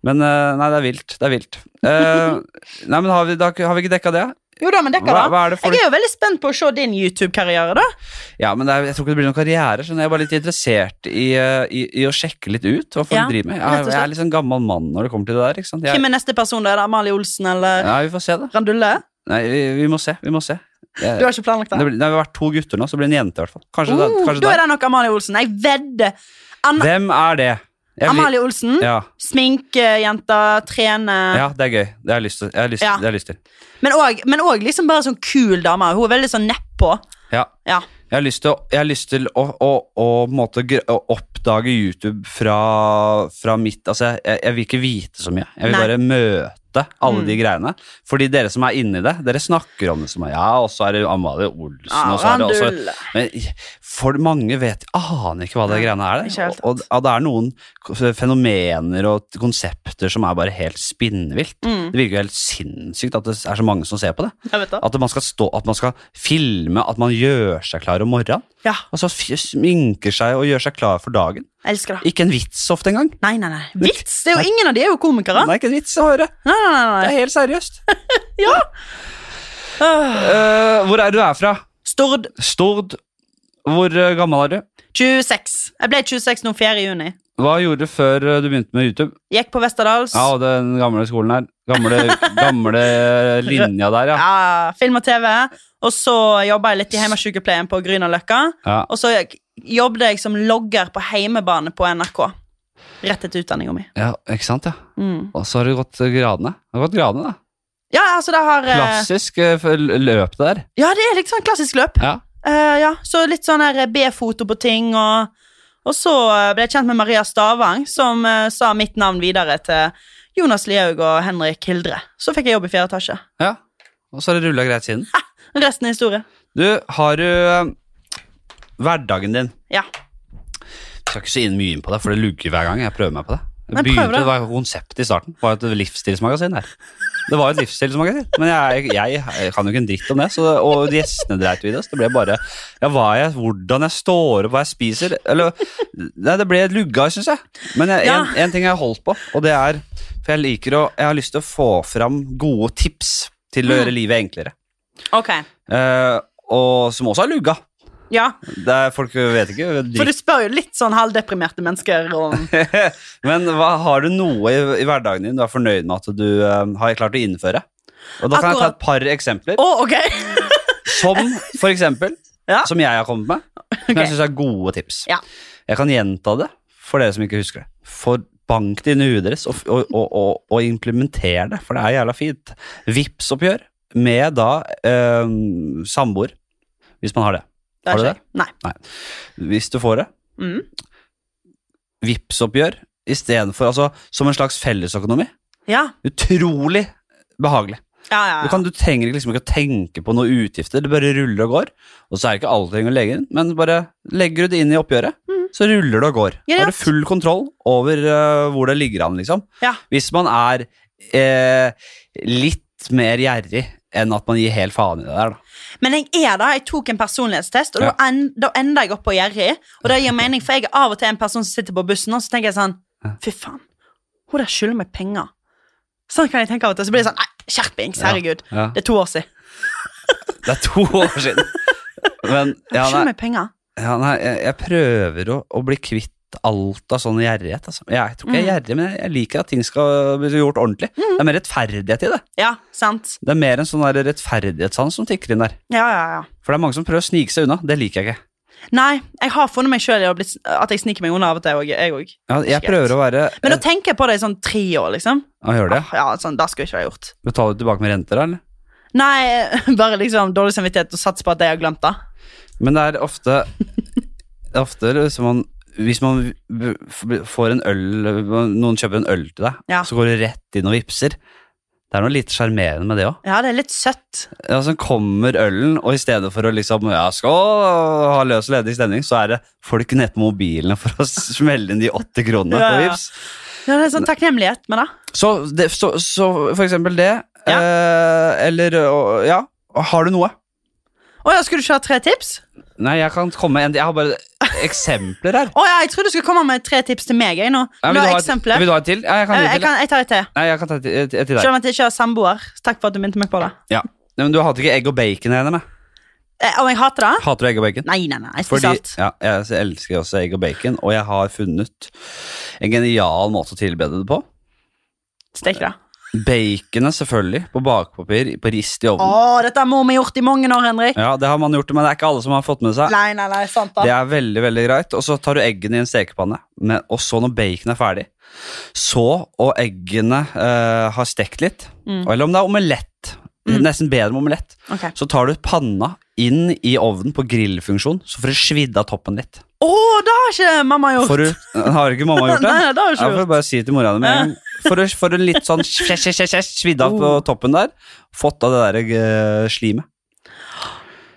[SPEAKER 1] Men eh, nei, det er vilt. Det er vilt. Eh, nei, men har vi, da, har vi ikke dekka det?
[SPEAKER 2] Jo da, men dekker
[SPEAKER 1] Hva,
[SPEAKER 2] da.
[SPEAKER 1] hva er det folk
[SPEAKER 2] Jeg er jo veldig spent på å se din YouTube-karriere, da.
[SPEAKER 1] Ja, men det er, jeg tror ikke det blir noen karriere. Skjønner. jeg. Jeg er bare litt interessert i, eh, i, i å sjekke litt ut hva folk
[SPEAKER 2] Ja,
[SPEAKER 1] driver med.
[SPEAKER 2] rett
[SPEAKER 1] Jeg,
[SPEAKER 2] og
[SPEAKER 1] jeg
[SPEAKER 2] slett.
[SPEAKER 1] er litt sånn gammel mann når det kommer til det der. Ikke sant? Jeg,
[SPEAKER 2] Hvem er neste person? da? Er det Amalie Olsen eller
[SPEAKER 1] ja, vi får se, da.
[SPEAKER 2] Randulle?
[SPEAKER 1] Nei, vi, vi må se. Vi må se. Jeg,
[SPEAKER 2] Du har ikke planlagt
[SPEAKER 1] det
[SPEAKER 2] det?
[SPEAKER 1] blir, det har vært to gutter nå, så blir det en jente i hvert fall. Kanskje, det,
[SPEAKER 2] Oh,
[SPEAKER 1] kanskje
[SPEAKER 2] da
[SPEAKER 1] det.
[SPEAKER 2] er det nok Amalie Olsen. Jeg vedder. Am
[SPEAKER 1] Hvem er det? Jeg vil-
[SPEAKER 2] Amalie Olsen.
[SPEAKER 1] Ja,
[SPEAKER 2] Sminkejenta, trene
[SPEAKER 1] ja, det er gøy. Det har jeg lyst til. Jeg har lyst,
[SPEAKER 2] Ja.
[SPEAKER 1] det har jeg lyst til.
[SPEAKER 2] Men òg- Men òg liksom bare sånn kul dame. Hun er veldig sånn nedpå.
[SPEAKER 1] Ja.
[SPEAKER 2] Ja.
[SPEAKER 1] Jeg har lyst til, å- jeg har lyst til å, å, å, på en måte, gr- å oppdage YouTube fra, fra mitt Altså, jeg, jeg vil ikke vite så mye. Jeg vil
[SPEAKER 2] Nei.
[SPEAKER 1] bare møte alle
[SPEAKER 2] Mm.
[SPEAKER 1] de greiene. Fordi dere som er inni det, dere snakker om det som er Ja, og så er det Amalie Olsen,
[SPEAKER 2] Ja,
[SPEAKER 1] og så er det også
[SPEAKER 2] Randulle.
[SPEAKER 1] Men for mange vet Aner ikke hva de
[SPEAKER 2] Nei,
[SPEAKER 1] greiene er.
[SPEAKER 2] ikke helt
[SPEAKER 1] der. Og, og det er noen k- fenomener og konsepter som er bare helt spinnvilt.
[SPEAKER 2] Mm.
[SPEAKER 1] Det virker jo helt sinnssykt at det er så mange som ser på det.
[SPEAKER 2] Jeg vet det.
[SPEAKER 1] At man skal, stå, at man skal filme, at man gjør seg klar om morgenen.
[SPEAKER 2] Ja,
[SPEAKER 1] Og så f- sminker seg og gjør seg klar for dagen.
[SPEAKER 2] jeg elsker det.
[SPEAKER 1] Ikke en vits ofte engang.
[SPEAKER 2] Nei, nei, nei. Vits! Det er jo ingen av de er jo komikere. Nei,
[SPEAKER 1] Nei, ikke en vits å høre.
[SPEAKER 2] nei, nei,
[SPEAKER 1] Det
[SPEAKER 2] nei.
[SPEAKER 1] er helt seriøst.
[SPEAKER 2] Åh.
[SPEAKER 1] Eh, hvor er det du er fra?
[SPEAKER 2] Stord
[SPEAKER 1] Stord. Hvor eh, gammel er du?
[SPEAKER 2] 26. Jeg ble 26 nå 4. juni.
[SPEAKER 1] Hva gjorde du før eh, du begynte med YouTube?
[SPEAKER 2] Gikk på Westerdals.
[SPEAKER 1] Ja, og den gamle skolen her. Gamle, gamle linja der, ja.
[SPEAKER 2] Ja, film og TV. Og så jobba jeg litt i hjemmesykepleien på Grünerløkka.
[SPEAKER 1] ja.
[SPEAKER 2] Og så jobbet jeg som logger på heimebane på NRK. Rett etter utdanninga mi.
[SPEAKER 1] Ja, ikke sant, ja.
[SPEAKER 2] Mm.
[SPEAKER 1] Og så har du gått eh, gradene. Du har gått gradene, da.
[SPEAKER 2] Ja, altså det har eh,
[SPEAKER 1] Klassisk eh, for l- løp det der.
[SPEAKER 2] Ja, det er litt sånn klassisk løp.
[SPEAKER 1] Ja.
[SPEAKER 2] Eh, ja, så litt sånn her B-foto på ting og Og så eh, ble jeg kjent med Maria Stavang, som eh, sa mitt navn videre til Jonas Lihaug og Henrik Hildre. Så fikk jeg jobb i fjerde etasje.
[SPEAKER 1] ja. Og så har det rulla greit siden.
[SPEAKER 2] Resten er historie.
[SPEAKER 1] Du, har du eh, hverdagen din
[SPEAKER 2] Ja.
[SPEAKER 1] Jeg skal ikke så inn mye inn på det, for det lugger hver gang jeg prøver meg på det. Jeg
[SPEAKER 2] Men prøv
[SPEAKER 1] begynte,
[SPEAKER 2] det.
[SPEAKER 1] det var konseptet i starten. var et livsstilsmagasin her. Det var et livsstilsmagasin, men jeg, jeg, jeg kan jo ikke en dritt om det. Så, og de gjestene dreit jo i det, så det ble bare ja, hva jeg, hvordan jeg står opp, hva jeg spiser eller, Nei, det ble et luggar, syns jeg. Men jeg,
[SPEAKER 2] Ja.
[SPEAKER 1] en, en ting jeg har holdt på, og det er For jeg liker å Jeg har lyst til å få fram gode tips til å
[SPEAKER 2] Mm.
[SPEAKER 1] gjøre livet enklere.
[SPEAKER 2] Ok.
[SPEAKER 1] Eh, og som også har lugga.
[SPEAKER 2] Ja,
[SPEAKER 1] Det er, folk vet ikke.
[SPEAKER 2] for du spør jo litt sånn halvdeprimerte mennesker om
[SPEAKER 1] Men hva, har du noe i, i hverdagen din du er fornøyd med at du eh, har klart å innføre? Og da kan jeg ta et par eksempler.
[SPEAKER 2] Å, ok!
[SPEAKER 1] Som for eksempel,
[SPEAKER 2] Ja.
[SPEAKER 1] som jeg har kommet med, som
[SPEAKER 2] Ok.
[SPEAKER 1] jeg syns er gode tips.
[SPEAKER 2] Ja.
[SPEAKER 1] Jeg kan gjenta det for dere som ikke husker det. For bank det inn i huet deres, og, og, og, og, og implementer det, for det er jævla fint. Vipps-oppgjør med da eh, samboer, hvis man har det. Har du
[SPEAKER 2] ikke
[SPEAKER 1] det?
[SPEAKER 2] jeg. Nei.
[SPEAKER 1] Hvis du får det.
[SPEAKER 2] Mm.
[SPEAKER 1] Vipps-oppgjør istedenfor, altså som en slags fellesøkonomi.
[SPEAKER 2] Ja.
[SPEAKER 1] Utrolig behagelig.
[SPEAKER 2] Ja, ja,
[SPEAKER 1] Du,
[SPEAKER 2] ja.
[SPEAKER 1] kan, du trenger liksom ikke å tenke på noen utgifter, det bare ruller og går. Og så er det ikke alle ting å legge inn, men bare legger du det inn i oppgjøret, så ruller det og går.
[SPEAKER 2] Mm. Ja,
[SPEAKER 1] Da
[SPEAKER 2] ja.
[SPEAKER 1] har du full kontroll over øh, hvor det ligger an, liksom.
[SPEAKER 2] Ja.
[SPEAKER 1] Hvis man er eh, litt mer gjerrig enn at man gir helt faen i det der, da.
[SPEAKER 2] Men jeg er da, jeg tok en personlighetstest, og da en- da enda jeg opp på gjerrig. Og det gir mening, for jeg er av og til en person som sitter på bussen, og så tenker jeg sånn Fy faen, hun der skylder meg penger. Sånn kan jeg tenke av og til. Så blir det sånn Nei, skjerpings, herregud.
[SPEAKER 1] Ja.
[SPEAKER 2] Det er to år siden.
[SPEAKER 1] Det er to år siden. Men ja,
[SPEAKER 2] Skylder
[SPEAKER 1] nei,
[SPEAKER 2] meg penger.
[SPEAKER 1] ja, nei jeg, jeg prøver å, å bli kvitt alt av sånn gjerrighet. Altså. Jeg tror ikke
[SPEAKER 2] Mm.
[SPEAKER 1] jeg er gjerrig, men jeg, jeg liker at ting skal bli gjort ordentlig. Det er mer rettferdighet i det.
[SPEAKER 2] Ja, sant.
[SPEAKER 1] Det er mer en sånn der rettferdighetssans som tikker inn der.
[SPEAKER 2] Ja, ja, ja.
[SPEAKER 1] For det er mange som prøver å snike seg unna. Det liker jeg ikke.
[SPEAKER 2] Nei, jeg har funnet meg sjøl i å bli, at jeg sniker meg unna av og til, og jeg òg.
[SPEAKER 1] Ja, jeg
[SPEAKER 2] Shit.
[SPEAKER 1] prøver å være
[SPEAKER 2] Men da tenker jeg på det i sånn tre år, liksom.
[SPEAKER 1] Ja, gjør det?
[SPEAKER 2] Ah, Ja, sånn, Da skulle jeg ikke ha gjort.
[SPEAKER 1] Betaler du tilbake med renter, da, eller?
[SPEAKER 2] Nei, bare liksom dårlig samvittighet og satse på at jeg har glemt det.
[SPEAKER 1] Men det er ofte det er ofte liksom man hvis man v- v- får en øl Noen kjøper en øl til deg,
[SPEAKER 2] Ja.
[SPEAKER 1] så går du rett inn og vippser. Det er noe litt sjarmerende med det òg.
[SPEAKER 2] Ja, det er litt søtt.
[SPEAKER 1] Ja, så kommer ølen, og i stedet for å liksom Ja, skal ha løs og ledig stemning, så er det folk nede på mobilene for å smelle inn de 80 kronene
[SPEAKER 2] Ja,
[SPEAKER 1] på
[SPEAKER 2] ja.
[SPEAKER 1] Vipps.
[SPEAKER 2] Ja, det er sånn takknemlighet med det.
[SPEAKER 1] Så, det, så, så for eksempel det,
[SPEAKER 2] Ja.
[SPEAKER 1] eh, eller å- Ja, har du noe?
[SPEAKER 2] Å ja, skulle du ikke ha tre tips?
[SPEAKER 1] Nei, jeg kan komme en, Jeg har bare eksempler her.
[SPEAKER 2] Å ja, jeg trodde du skulle komme med tre tips til meg. Jeg, nå.
[SPEAKER 1] Nei,
[SPEAKER 2] Vil du ha
[SPEAKER 1] et-
[SPEAKER 2] eksempler?
[SPEAKER 1] vil du ha et til? Ja, jeg kan
[SPEAKER 2] Eh,
[SPEAKER 1] gi et
[SPEAKER 2] jeg,
[SPEAKER 1] til.
[SPEAKER 2] kan, jeg tar et til.
[SPEAKER 1] Nei, jeg kan ta et, et, et til deg.
[SPEAKER 2] Selv om jeg ikke har samboer. Takk for at du minte meg på det.
[SPEAKER 1] Ja. Nei, Men du hater ikke egg og bacon, jeg regner med?
[SPEAKER 2] Eh, Om jeg hater det?
[SPEAKER 1] Hater du egg og bacon?
[SPEAKER 2] Nei, nei, nei. Jeg spiser
[SPEAKER 1] Fordi,
[SPEAKER 2] alt.
[SPEAKER 1] ja, jeg elsker også egg og bacon, og jeg har funnet en genial måte å tilberede det på.
[SPEAKER 2] Stek det.
[SPEAKER 1] Baconet, selvfølgelig, på bakpapir, på rist i
[SPEAKER 2] Å,
[SPEAKER 1] ovnen.
[SPEAKER 2] dette har mor mi gjort i mange år, Henrik.
[SPEAKER 1] Ja, det har man gjort, men det er ikke alle som har fått med seg.
[SPEAKER 2] Nei, nei, nei, sant
[SPEAKER 1] Det
[SPEAKER 2] da.
[SPEAKER 1] er veldig, veldig greit. Og så tar du eggene i en stekepanne, men, og så når bacon er ferdig, så, og eggene eh, har stekt litt,
[SPEAKER 2] Mm.
[SPEAKER 1] eller om det er omelett,
[SPEAKER 2] Mm.
[SPEAKER 1] nesten bedre med omelett,
[SPEAKER 2] Ok.
[SPEAKER 1] så tar du panna inn i ovnen på grillfunksjon, så får du svidd av toppen litt.
[SPEAKER 2] Å, det har ikke mamma gjort.
[SPEAKER 1] Får du, har ikke mamma gjort det?
[SPEAKER 2] Nei, nei, det har
[SPEAKER 1] Ja,
[SPEAKER 2] hun
[SPEAKER 1] får
[SPEAKER 2] ikke
[SPEAKER 1] du
[SPEAKER 2] gjort.
[SPEAKER 1] bare si det til mora di med en gang. Får du, får du litt sånn skje- skje- skje- skje- svidd av på
[SPEAKER 2] Oh.
[SPEAKER 1] toppen der, fått av det der eh, slimet.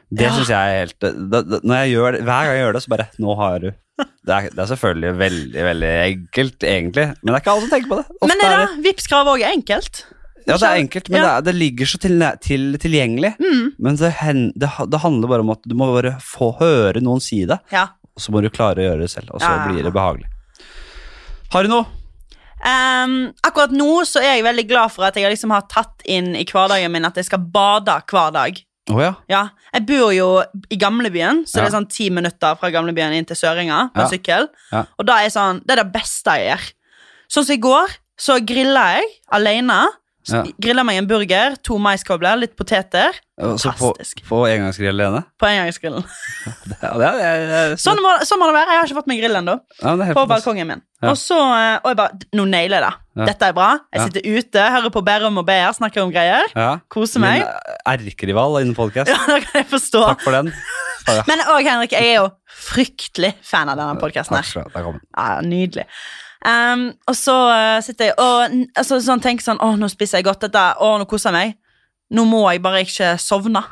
[SPEAKER 1] Det
[SPEAKER 2] Ja.
[SPEAKER 1] synes syns jeg er helt da, da, når jeg gjør det, Hver gang jeg gjør det, så bare Nå har du det er, det er selvfølgelig veldig veldig enkelt, egentlig, men det er ikke alle som tenker på det. Ofte
[SPEAKER 2] Men er
[SPEAKER 1] er
[SPEAKER 2] det
[SPEAKER 1] det,
[SPEAKER 2] Vipps-krav òg enkelt?
[SPEAKER 1] ja, det er enkelt, men det, er, det ligger så til, til, tilgjengelig.
[SPEAKER 2] Mm.
[SPEAKER 1] Men det, hen, det, ha- det handler bare om at du må bare få høre noen si det,
[SPEAKER 2] Ja.
[SPEAKER 1] og så må du klare å gjøre det selv, og så
[SPEAKER 2] Ja, ja, ja.
[SPEAKER 1] blir det behagelig. Har du noe?
[SPEAKER 2] Ehm, akkurat nå så er jeg veldig glad for at jeg liksom har tatt inn i hverdagen min at jeg skal bade hver dag.
[SPEAKER 1] Å ja.
[SPEAKER 2] Ja, Jeg bor jo i gamlebyen, så det er
[SPEAKER 1] Ja.
[SPEAKER 2] sånn ti minutter fra gamlebyen inn til Søringa med
[SPEAKER 1] Ja.
[SPEAKER 2] sykkel.
[SPEAKER 1] Ja.
[SPEAKER 2] Og da er sånn, det er det beste jeg gjør. Sånn som i går, så grilla jeg alene.
[SPEAKER 1] Ja.
[SPEAKER 2] Ja. Grilla meg en burger, to maiskobler, litt poteter.
[SPEAKER 1] Og så på,
[SPEAKER 2] Fantastisk.
[SPEAKER 1] på engangsgrill alene?
[SPEAKER 2] På engangsgrillen.
[SPEAKER 1] Ja, det er, det er, det er,
[SPEAKER 2] Sånn, må- sånn må det være. Jeg har ikke fått meg grill ennå.
[SPEAKER 1] ja, det er helt
[SPEAKER 2] På
[SPEAKER 1] fantastisk.
[SPEAKER 2] balkongen min.
[SPEAKER 1] Ja.
[SPEAKER 2] Og så, eh, og jeg bare, d- nå nailer jeg det.
[SPEAKER 1] Ja.
[SPEAKER 2] Dette er bra. Jeg
[SPEAKER 1] Ja.
[SPEAKER 2] sitter ute, hører på Bærum og Beyer, snakker om greier.
[SPEAKER 1] Ja.
[SPEAKER 2] Koser
[SPEAKER 1] Min
[SPEAKER 2] meg.
[SPEAKER 1] erkerival innen podcast.
[SPEAKER 2] Ja, det kan jeg forstå.
[SPEAKER 1] Takk for den. Ja,
[SPEAKER 2] Men òg, Henrik, jeg er jo fryktelig fan av denne podkasten
[SPEAKER 1] takk
[SPEAKER 2] her.
[SPEAKER 1] skal du ha. Der kom den.
[SPEAKER 2] Ja, nydelig. Ehm, og så eh, sitter jeg og n- altså, sånn, tenker sånn Å, nå spiser jeg godt dette. Å, nå koser jeg meg. Nå må jeg bare ikke sovne.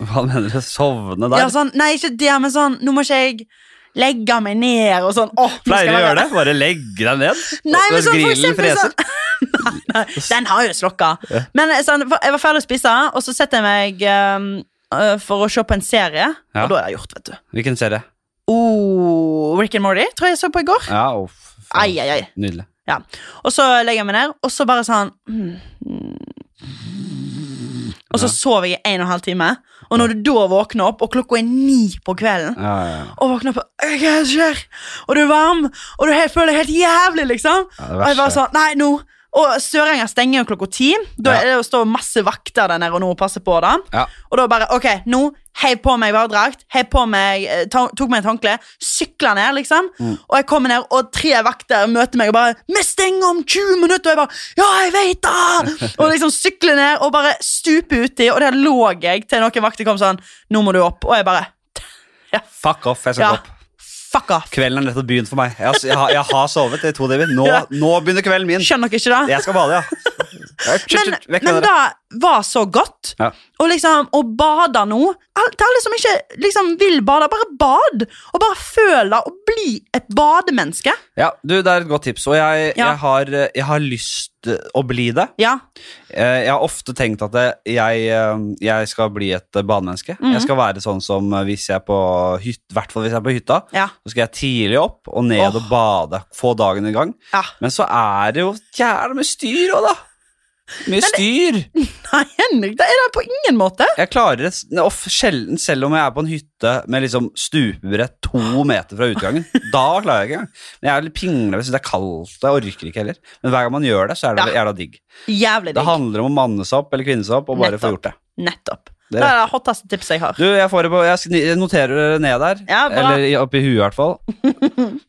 [SPEAKER 1] Hva mener du? Sovne der?
[SPEAKER 2] Ja, sånn, nei, ikke det, men sånn Nå må ikke jeg legge meg ned og sånn. Åh, nå skal
[SPEAKER 1] Pleier du
[SPEAKER 2] jeg
[SPEAKER 1] å
[SPEAKER 2] være-
[SPEAKER 1] gjøre det? Bare legge deg ned?
[SPEAKER 2] Nei, men
[SPEAKER 1] Mens
[SPEAKER 2] sånn, for
[SPEAKER 1] grillen
[SPEAKER 2] eksempel
[SPEAKER 1] freser?
[SPEAKER 2] Nei, den har jo slokka. Men sånn, for- jeg var ferdig å spise, og så setter jeg meg ehm, øh, for å se på en serie.
[SPEAKER 1] Ja.
[SPEAKER 2] Og da er det gjort, vet du.
[SPEAKER 1] Hvilken serie?
[SPEAKER 2] Oh, Rick and Morty tror jeg jeg så på i går.
[SPEAKER 1] Ja, å, f- faen.
[SPEAKER 2] Ai, ai, ai.
[SPEAKER 1] Nydelig.
[SPEAKER 2] Ja. Og så legger jeg meg ned, og så bare sånn mm, Og så
[SPEAKER 1] Ja.
[SPEAKER 2] sover jeg i en og en halv time. Og når du da våkner opp, og klokka er ni på kvelden
[SPEAKER 1] Ja, ja, ja.
[SPEAKER 2] og våkner opp og «Åh, Hva skjer? Og du er varm, og du he- føler deg helt jævlig, liksom.
[SPEAKER 1] Ja, det
[SPEAKER 2] og jeg bare
[SPEAKER 1] verste.
[SPEAKER 2] sånn, nei, nå Og Sørenga stenger jo klokka ti. Da
[SPEAKER 1] Ja.
[SPEAKER 2] er det jo står masse vakter der nede og nå og passer på det.
[SPEAKER 1] Ja.
[SPEAKER 2] Og da bare OK, nå heiv på meg værdrakt, heiv på meg eh, ta, Tok meg et håndkle, sykla ned, liksom.
[SPEAKER 1] Mm.
[SPEAKER 2] Og jeg kommer ned, og tre vakter møter meg og bare 'Vi stenger om 20 minutter!' Og jeg bare 'Ja, jeg veit det!' og liksom sykler ned og bare stuper uti, og der lå jeg til noen vakter kom sånn 'Nå må du opp.' Og jeg bare
[SPEAKER 1] Fuck off, jeg skal
[SPEAKER 2] Ja,
[SPEAKER 1] gå opp.
[SPEAKER 2] fuck off.
[SPEAKER 1] Kvelden har nettopp begynt for meg. Jeg, har- jeg, har- jeg har sovet i to timer. Nå,
[SPEAKER 2] Ja.
[SPEAKER 1] nå begynner kvelden min.
[SPEAKER 2] Skjønner dere ikke det?
[SPEAKER 1] Jeg skal bade, ja.
[SPEAKER 2] Men, men det var så godt.
[SPEAKER 1] Ja.
[SPEAKER 2] Og liksom, å bade nå al- Til alle som ikke liksom vil bade, bare bad! Og bare føl det, og bli et bademenneske.
[SPEAKER 1] Ja, du, det er et godt tips, og jeg,
[SPEAKER 2] Ja.
[SPEAKER 1] jeg, har, jeg har lyst eh, å bli det.
[SPEAKER 2] Ja.
[SPEAKER 1] Eh, Jeg har ofte tenkt at det- jeg, eh, jeg skal bli et eh, banemenneske.
[SPEAKER 2] Mhm.
[SPEAKER 1] Jeg skal være sånn som eh, hvis jeg er på hyt- hvertfall hvis jeg er på hytta,
[SPEAKER 2] Ja.
[SPEAKER 1] så skal jeg tidlig opp og ned
[SPEAKER 2] Åh.
[SPEAKER 1] og bade. Få dagen i gang.
[SPEAKER 2] ja.
[SPEAKER 1] Men så er det jo jævla mye styr òg, da. Mye styr.
[SPEAKER 2] Nei, Henrik, det er det på ingen måte.
[SPEAKER 1] Jeg klarer det s- of- sjelden, selv om jeg er på en hytte med liksom stupebrett to meter fra utgangen. Da klarer jeg ikke engang. Men jeg er litt pingle hvis det er kaldt. og Jeg orker ikke heller. Men hver gang man gjør det, så er det jævla digg.
[SPEAKER 2] Jævlig
[SPEAKER 1] Det
[SPEAKER 2] digg.
[SPEAKER 1] handler om å manne seg opp eller kvinne seg opp og bare få
[SPEAKER 2] Nettopp.
[SPEAKER 1] gjort det.
[SPEAKER 2] Nettopp.
[SPEAKER 1] Det-
[SPEAKER 2] Det er det hotteste tipset jeg har.
[SPEAKER 1] Du, jeg, får det på, jeg sk- jeg noterer det ned der.
[SPEAKER 2] Ja, bra.
[SPEAKER 1] eller i- oppi huet, i hvert fall.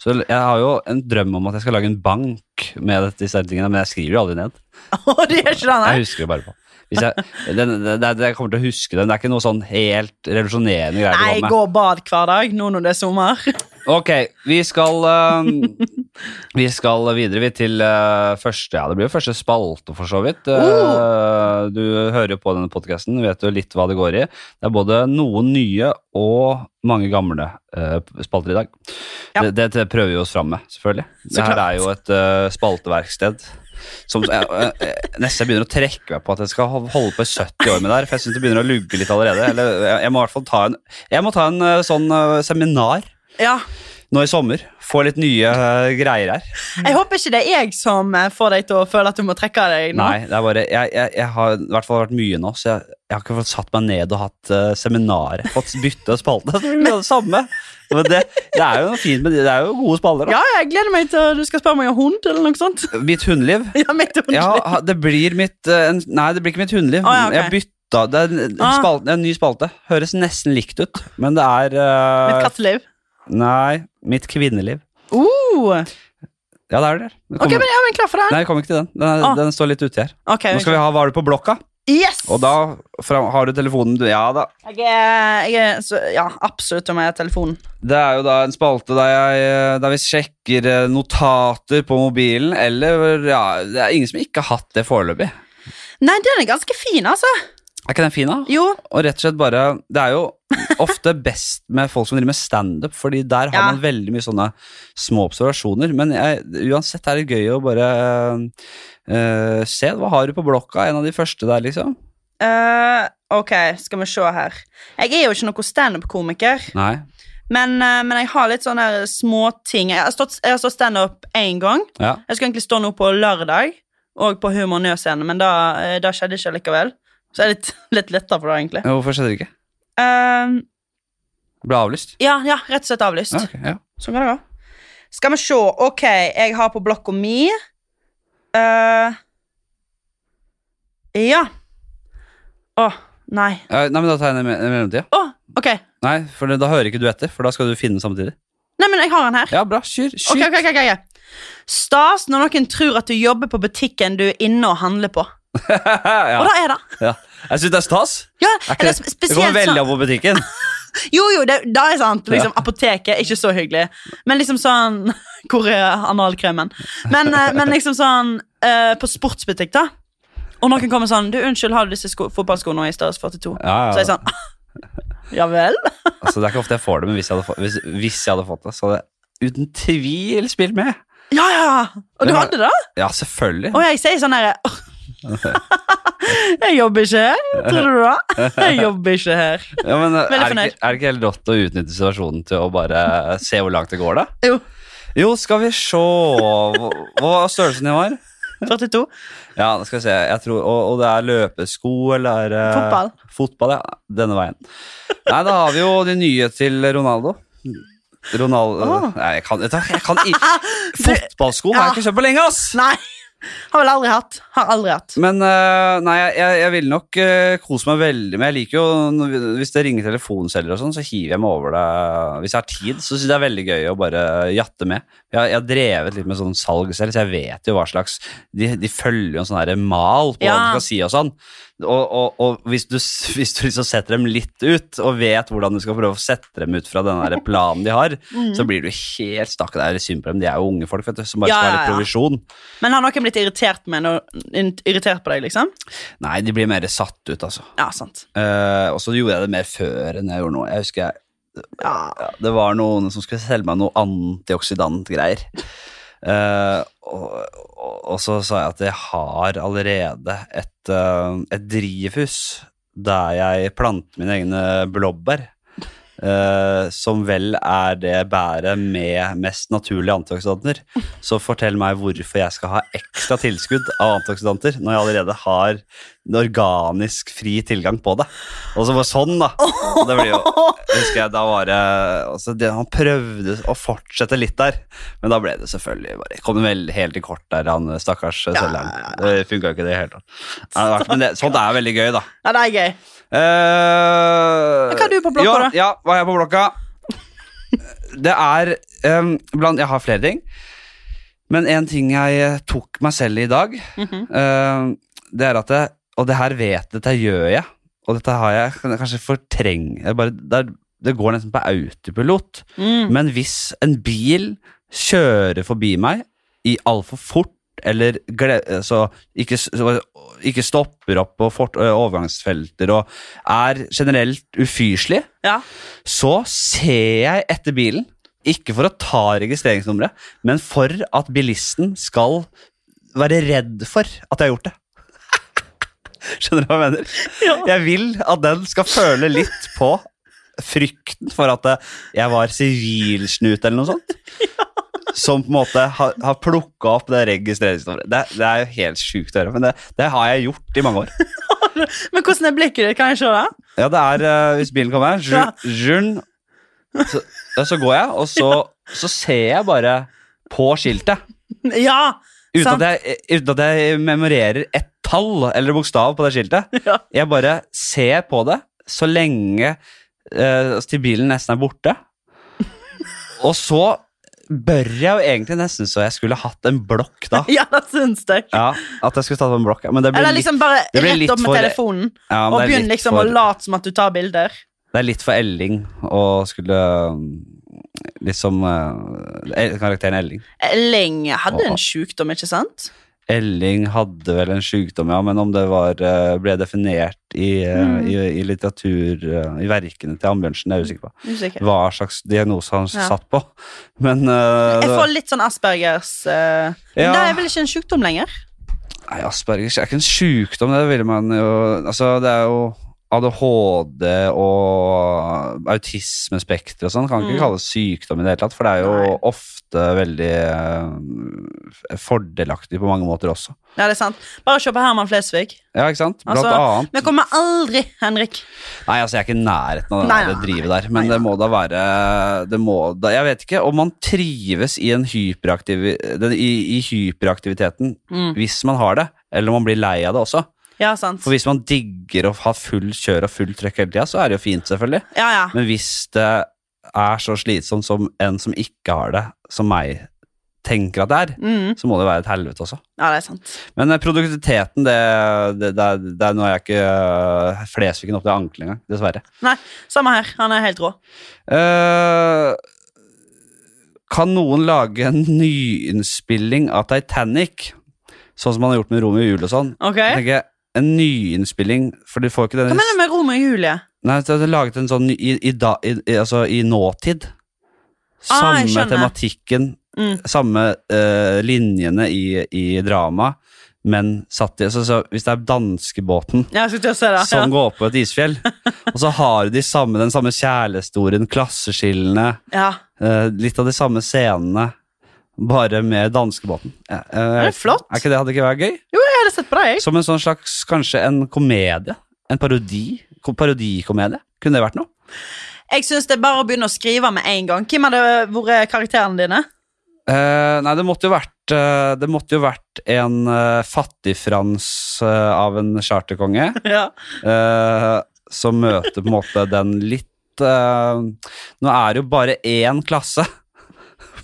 [SPEAKER 1] Så jeg har jo en drøm om at jeg skal lage en bank med dette, disse tingene, men jeg skriver jo aldri ned.
[SPEAKER 2] Og det er ikke det, nei.
[SPEAKER 1] Jeg husker det bare på. Hvis jeg, den, den, den, jeg kommer til å huske den. Det er ikke noe sånn helt revolusjonerende greier.
[SPEAKER 2] Nei,
[SPEAKER 1] å gå med.
[SPEAKER 2] gå og bad hver dag nå når det er sommer.
[SPEAKER 1] Ok, vi skal eh, Vi skal videre vi til eh, første Ja, det blir jo første spalte for så vidt Eh,
[SPEAKER 2] Uh.
[SPEAKER 1] Du hører jo på denne podcasten Vet jo litt hva det går i Det er både noen nye og mange gamle eh, spalter i dag
[SPEAKER 2] Ja.
[SPEAKER 1] det, det prøver vi oss frem med, selvfølgelig Det her
[SPEAKER 2] klart.
[SPEAKER 1] er jo et eh, spalteverksted som, jeg, jeg, jeg, nesten jeg begynner å trekke meg på at jeg skal ho- holde på i 70 år med det her, for jeg synes det begynner å lugge litt allerede. Eller, jeg, jeg må i hvert fall ta en, jeg må ta en eh, sånn eh, seminar
[SPEAKER 2] Ja.
[SPEAKER 1] nå i sommer. Få litt nye øh, greier her.
[SPEAKER 2] Jeg håper ikke det er jeg som eh, får deg til å føle at du må trekke deg nå.
[SPEAKER 1] Nei, det er bare Jeg, jeg, jeg har i hvert fall vært mye nå, så jeg, jeg har ikke fått satt meg ned og hatt uh, seminarer. Fått bytte spalte. Det blir mye av det samme. Men det, det er jo noe fint med det. Det er jo gode spalter, da.
[SPEAKER 2] Ja, jeg gleder meg til du skal spørre meg om hund eller noe sånt.
[SPEAKER 1] Mitt hundeliv.
[SPEAKER 2] Ja, mitt hund.
[SPEAKER 1] Ja, ha- det blir mitt øh, en, Nei, det blir ikke mitt hundeliv.
[SPEAKER 2] Å, ja, ok.
[SPEAKER 1] Jeg bytta Det er en,
[SPEAKER 2] Ah.
[SPEAKER 1] spalte, en ny spalte. Høres nesten likt ut, men det er øh,
[SPEAKER 2] Mitt katteliv.
[SPEAKER 1] Nei, mitt kvinneliv.
[SPEAKER 2] Uh.
[SPEAKER 1] Ja, det er det. det
[SPEAKER 2] Ok,
[SPEAKER 1] kommer-
[SPEAKER 2] men ja, men klar for det.
[SPEAKER 1] Nei, jeg kom ikke til den. Den, er,
[SPEAKER 2] Ah.
[SPEAKER 1] den står litt uti her.
[SPEAKER 2] Ok,
[SPEAKER 1] Nå skal vi ha Hva har du på blokka?
[SPEAKER 2] Yes!
[SPEAKER 1] Og da fra, har du telefonen du, Ja da.
[SPEAKER 2] Jeg er, jeg er så, ja, absolutt om jeg har telefonen.
[SPEAKER 1] Det er jo da en spalte der, jeg, eh, der vi sjekker eh, notater på mobilen, eller ja, Det er ingen som ikke har hatt det foreløpig.
[SPEAKER 2] Nei, den er ganske fin, altså.
[SPEAKER 1] Er ikke den fin, da?
[SPEAKER 2] Jo,
[SPEAKER 1] Og rett og slett bare Det er jo ofte best med folk som driver med standup, fordi der har
[SPEAKER 2] Ja.
[SPEAKER 1] man veldig mye sånne små observasjoner. Men jeg, uansett er det gøy å bare eh, se. Hva har du på blokka? En av de første der, liksom.
[SPEAKER 2] eh, ok, skal vi se her. Jeg er jo ikke noen stand-up-komiker,
[SPEAKER 1] Nei.
[SPEAKER 2] men, eh, men jeg har litt sånne her småting. Jeg har stått, jeg har stått stand-up én gang.
[SPEAKER 1] Ja.
[SPEAKER 2] Jeg skulle egentlig stå nå på lørdag, og på Humor Nø-scenen, men da, eh, da skjedde ikke likevel. Så jeg er litt, litt lettere for det, egentlig.
[SPEAKER 1] Hvorfor skjedde det ikke?
[SPEAKER 2] Eh,
[SPEAKER 1] Ble avlyst?
[SPEAKER 2] ja, ja, rett og slett avlyst.
[SPEAKER 1] Ja, ok, ja.
[SPEAKER 2] Sånn kan det gå. Skal vi se. Ok, jeg har på blokka mi Eh, Ja. Å, nei.
[SPEAKER 1] Ja, nei, men da tar jeg den i me- i mellomtida.
[SPEAKER 2] Å, ok. Nei,
[SPEAKER 1] Nei, for da hører ikke du etter, for da skal du finne den samtidig.
[SPEAKER 2] men jeg har den her.
[SPEAKER 1] Ja, bra, kyr,
[SPEAKER 2] Ok,
[SPEAKER 1] kyr.
[SPEAKER 2] ok, ok, ok, ok. Stas når noen tror at du jobber på butikken du er inne og handler på. Og
[SPEAKER 1] ja,
[SPEAKER 2] da er det.
[SPEAKER 1] ja. Jeg synes det er stas.
[SPEAKER 2] Ja,
[SPEAKER 1] Er ikke
[SPEAKER 2] eller
[SPEAKER 1] det?
[SPEAKER 2] sp-
[SPEAKER 1] Det kommer
[SPEAKER 2] spesielt
[SPEAKER 1] veldig
[SPEAKER 2] sånn
[SPEAKER 1] an på butikken.
[SPEAKER 2] Jo, jo, det, det er sant. Liksom, Apoteket er ikke så hyggelig. Men liksom sånn Hvor er analkremen? Men, eh, men liksom sånn eh, På sportsbutikk, da. Og noen kommer sånn Du, unnskyld, har du disse sko fotballskoene i størrelse 42?
[SPEAKER 1] Ja, ja.
[SPEAKER 2] Så jeg sånn Ja vel?
[SPEAKER 1] Altså, det er ikke ofte jeg får det, men hvis jeg hadde fått, hvis, hvis jeg hadde fått det, så hadde jeg uten tvil spilt med.
[SPEAKER 2] Ja, ja, ja. Og du
[SPEAKER 1] Det var-
[SPEAKER 2] hadde det?
[SPEAKER 1] Ja, selvfølgelig.
[SPEAKER 2] Og jeg sier sånn herre Jeg jobber ikke her, tror du det? Jeg jobber ikke her.
[SPEAKER 1] Ja, men er det,
[SPEAKER 2] fornøyd.
[SPEAKER 1] ikke, er det ikke helt rått å utnytte situasjonen til å bare se hvor langt det går, da?
[SPEAKER 2] Jo,
[SPEAKER 1] Jo, skal vi se Hva hva var størrelsen din var?
[SPEAKER 2] 42.
[SPEAKER 1] Ja, nå skal vi se. Jeg tror, og, og det er løpesko eller det er, eh,
[SPEAKER 2] Fotball.
[SPEAKER 1] Fotball, ja. Denne veien. Nei, da har vi jo de nye til Ronaldo. Ronaldo
[SPEAKER 2] Åh.
[SPEAKER 1] Nei, jeg kan, jeg, tar- jeg kan i, Fotballsko har jeg ikke kjøpt på lenge, ass!
[SPEAKER 2] Nei. Har vel aldri hatt. Har aldri hatt.
[SPEAKER 1] Men eh, nei, jeg, jeg, jeg vil nok eh, kose meg veldig Men jeg liker jo når- Hvis det ringer telefonceller og sånn, så hiver jeg meg over det. Hvis jeg har tid, så syns jeg det er veldig gøy å bare jatte med. Jeg, jeg har drevet litt med sånn salg selv, så jeg vet jo hva slags De, de følger jo en sånn her mal på hva
[SPEAKER 2] Ja.
[SPEAKER 1] de skal si og sånn. Og, og, og hvis du, s- hvis du liksom setter dem litt ut, og vet hvordan du skal prøve å sette dem ut fra den der planen de har,
[SPEAKER 2] Mm.
[SPEAKER 1] så blir du helt stakk. Det er litt synd på dem. De er jo unge folk vet du, som bare
[SPEAKER 2] Ja,
[SPEAKER 1] skal ha
[SPEAKER 2] ja,
[SPEAKER 1] litt
[SPEAKER 2] ja.
[SPEAKER 1] provisjon.
[SPEAKER 2] Men har noen blitt irritert, med når, irritert på deg, liksom?
[SPEAKER 1] Nei, de blir mer satt ut, altså.
[SPEAKER 2] Ja, sant.
[SPEAKER 1] Eh, og så gjorde jeg det mer før enn jeg gjorde nå. Jeg husker jeg,
[SPEAKER 2] Ja.
[SPEAKER 1] ja, det var noen som skulle selge meg noe antioksidantgreier. Eh, og, og, og så sa jeg at jeg har allerede et, eh, et drivhus der jeg planter mine egne blåbær. eh, som vel er det bæret med mest naturlige antioksidanter. Så fortell meg hvorfor jeg skal ha ekstra tilskudd av antioksidanter når jeg allerede har en organisk fri tilgang på det. Og så var det sånn, da. Og det blir jo jeg husker jeg, da var det, altså det Han prøvde å fortsette litt der, men da ble det selvfølgelig bare Kom det vel helt i kort der, han stakkars selgeren. Det funka jo ikke det i det hele tatt. Ja, det har vært- Men det, sånt er veldig gøy, da.
[SPEAKER 2] Ja, det er gøy.
[SPEAKER 1] Eh,
[SPEAKER 2] Hva er du på blokka,
[SPEAKER 1] ja,
[SPEAKER 2] da?
[SPEAKER 1] Ja, hva er jeg på blokka? Det er em, blant, Jeg har flere ting. Men en ting jeg eh, tok meg selv i i dag, eh, det er at jeg Og det her vet dette gjør jeg, og dette har jeg kan jeg kanskje fortreng... jeg Bare, det, er- det går nesten på autopilot.
[SPEAKER 2] Mm.
[SPEAKER 1] Men hvis en bil kjører forbi meg i altfor fort, eller gle- så ikke, s- så ikke stopper opp på fort, ø, overgangsfelter og er generelt ufyselig,
[SPEAKER 2] Ja.
[SPEAKER 1] så ser jeg etter bilen. Ikke for å ta registreringsnummeret, men for at bilisten skal være redd for at jeg har gjort det. Skjønner du hva jeg mener?
[SPEAKER 2] Ja.
[SPEAKER 1] Jeg vil at den skal føle litt på frykten for at eh, jeg var sivilsnut eller noe sånt. Som på en måte har, har plukka opp det registreringsnummeret. Det, det er jo helt sjukt å høre, men det, det har jeg gjort i mange år.
[SPEAKER 2] Men hvordan er blikket ditt? Kan jeg se det?
[SPEAKER 1] Ja, det er eh, Hvis bilen kommer, zhun,
[SPEAKER 2] Ja.
[SPEAKER 1] zhun, så, ja, så går jeg, og så, så ser jeg bare på skiltet.
[SPEAKER 2] Ja!
[SPEAKER 1] Uten
[SPEAKER 2] Sant.
[SPEAKER 1] at, jeg, eh, uten at jeg memorerer et tall eller bokstav på det skiltet.
[SPEAKER 2] ja.
[SPEAKER 1] Jeg bare ser på det så lenge eh, altså til bilen nesten er borte. Og så bør jeg jo egentlig nesten så jeg skulle hatt en blokk da.
[SPEAKER 2] Ja, det syns jeg.
[SPEAKER 1] Ja, at jeg skulle tatt en blokk. ja, Men det blir
[SPEAKER 2] Eller
[SPEAKER 1] litt,
[SPEAKER 2] liksom bare
[SPEAKER 1] det blir
[SPEAKER 2] rett
[SPEAKER 1] litt
[SPEAKER 2] opp med
[SPEAKER 1] for-
[SPEAKER 2] telefonen,
[SPEAKER 1] ja, men
[SPEAKER 2] og
[SPEAKER 1] det er
[SPEAKER 2] begynn
[SPEAKER 1] litt
[SPEAKER 2] liksom å
[SPEAKER 1] for,
[SPEAKER 2] late som at du tar bilder.
[SPEAKER 1] det er litt for Elling å skulle eh, liksom eh, el- Karakteren Elling.
[SPEAKER 2] Eh, Lenge hadde
[SPEAKER 1] Åh.
[SPEAKER 2] en sjukdom, ikke sant?
[SPEAKER 1] Elling hadde vel en sykdom, ja, men om det var, eh, ble definert i, eh,
[SPEAKER 2] Mm.
[SPEAKER 1] i, i litteratur, eh, i verkene til Ambjørnsen, det er jeg usikker på.
[SPEAKER 2] Usikker.
[SPEAKER 1] hva slags diagnose han
[SPEAKER 2] Ja.
[SPEAKER 1] satt på. Men eh,
[SPEAKER 2] Jeg
[SPEAKER 1] det-
[SPEAKER 2] får litt sånn Aspergers uh,
[SPEAKER 1] Ja.
[SPEAKER 2] Det er vel ikke en sjukdom lenger?
[SPEAKER 1] Nei, Aspergers er ikke en sjukdom, det ville man jo Altså, det er jo ADHD og autismespekter og sånn kan
[SPEAKER 2] Mm.
[SPEAKER 1] ikke kalles sykdom i det hele tatt, for det er jo
[SPEAKER 2] Nei.
[SPEAKER 1] ofte veldig eh, fordelaktig på mange måter også.
[SPEAKER 2] Ja, det er sant. Bare se på Herman Flesvig.
[SPEAKER 1] Ja, ikke sant? Blant
[SPEAKER 2] Altså,
[SPEAKER 1] annet.
[SPEAKER 2] Vi kommer aldri, Henrik.
[SPEAKER 1] Nei, altså jeg er ikke i nærheten av det
[SPEAKER 2] Nei,
[SPEAKER 1] der
[SPEAKER 2] nei,
[SPEAKER 1] drivet der, men det må da være det må da, Jeg vet ikke om man trives i, en hyperaktiv, den, i, i hyperaktiviteten
[SPEAKER 2] Mm.
[SPEAKER 1] hvis man har det, eller om man blir lei av det også.
[SPEAKER 2] Ja, sant.
[SPEAKER 1] For hvis man digger å ha full kjør og full trøkk hele tida, så er det jo fint, selvfølgelig.
[SPEAKER 2] Ja, ja.
[SPEAKER 1] Men hvis det er så slitsomt som en som ikke har det, som meg, tenker at det er,
[SPEAKER 2] Mm.
[SPEAKER 1] så må det være et helvete også.
[SPEAKER 2] Ja, det er sant.
[SPEAKER 1] Men eh, produktiviteten, det, det, det, er- det er nå er jeg ikke eh, Flesvigen opp til ankelen engang, dessverre.
[SPEAKER 2] Nei, samme her. Han er helt rå.
[SPEAKER 1] Eh, kan noen lage en nyinnspilling av Titanic, sånn som man har gjort med Romeo og Julie og sånn?
[SPEAKER 2] Ok?
[SPEAKER 1] Jeg
[SPEAKER 2] Hva
[SPEAKER 1] tenker, en nyinnspilling, for du får ikke den
[SPEAKER 2] mener du med Romeo og Julie?
[SPEAKER 1] Nei, så det er laget en sånn i, i, da, i, i- altså, i nåtid.
[SPEAKER 2] Ah,
[SPEAKER 1] Samme
[SPEAKER 2] jeg skjønner.
[SPEAKER 1] tematikken,
[SPEAKER 2] Mm.
[SPEAKER 1] samme eh, linjene i, i drama, men satt i så, så, Hvis det er danskebåten
[SPEAKER 2] Ja, jeg skulle til å se det.
[SPEAKER 1] som går på et isfjell, og så har de samme, den samme kjærlighetshistorien, klasseskillene,
[SPEAKER 2] Ja.
[SPEAKER 1] eh, litt av de samme scenene, bare med danskebåten. Ja, eh,
[SPEAKER 2] Det er flott.
[SPEAKER 1] Er ikke det, hadde ikke vært gøy?
[SPEAKER 2] Jo, jeg hadde sett på deg, jeg.
[SPEAKER 1] Som en sånn slags, kanskje en komedie, en parodi, ko- parodikomedie. Kunne det vært noe?
[SPEAKER 2] Jeg syns det er bare å begynne å skrive med en gang. Hvem hadde vært karakterene dine?
[SPEAKER 1] Eh, nei, det måtte jo vært, eh, det måtte jo vært en eh, fattigfrans eh, av en charterkonge
[SPEAKER 2] Ja.
[SPEAKER 1] eh, som møter på en måte den litt eh, Nå er det jo bare én klasse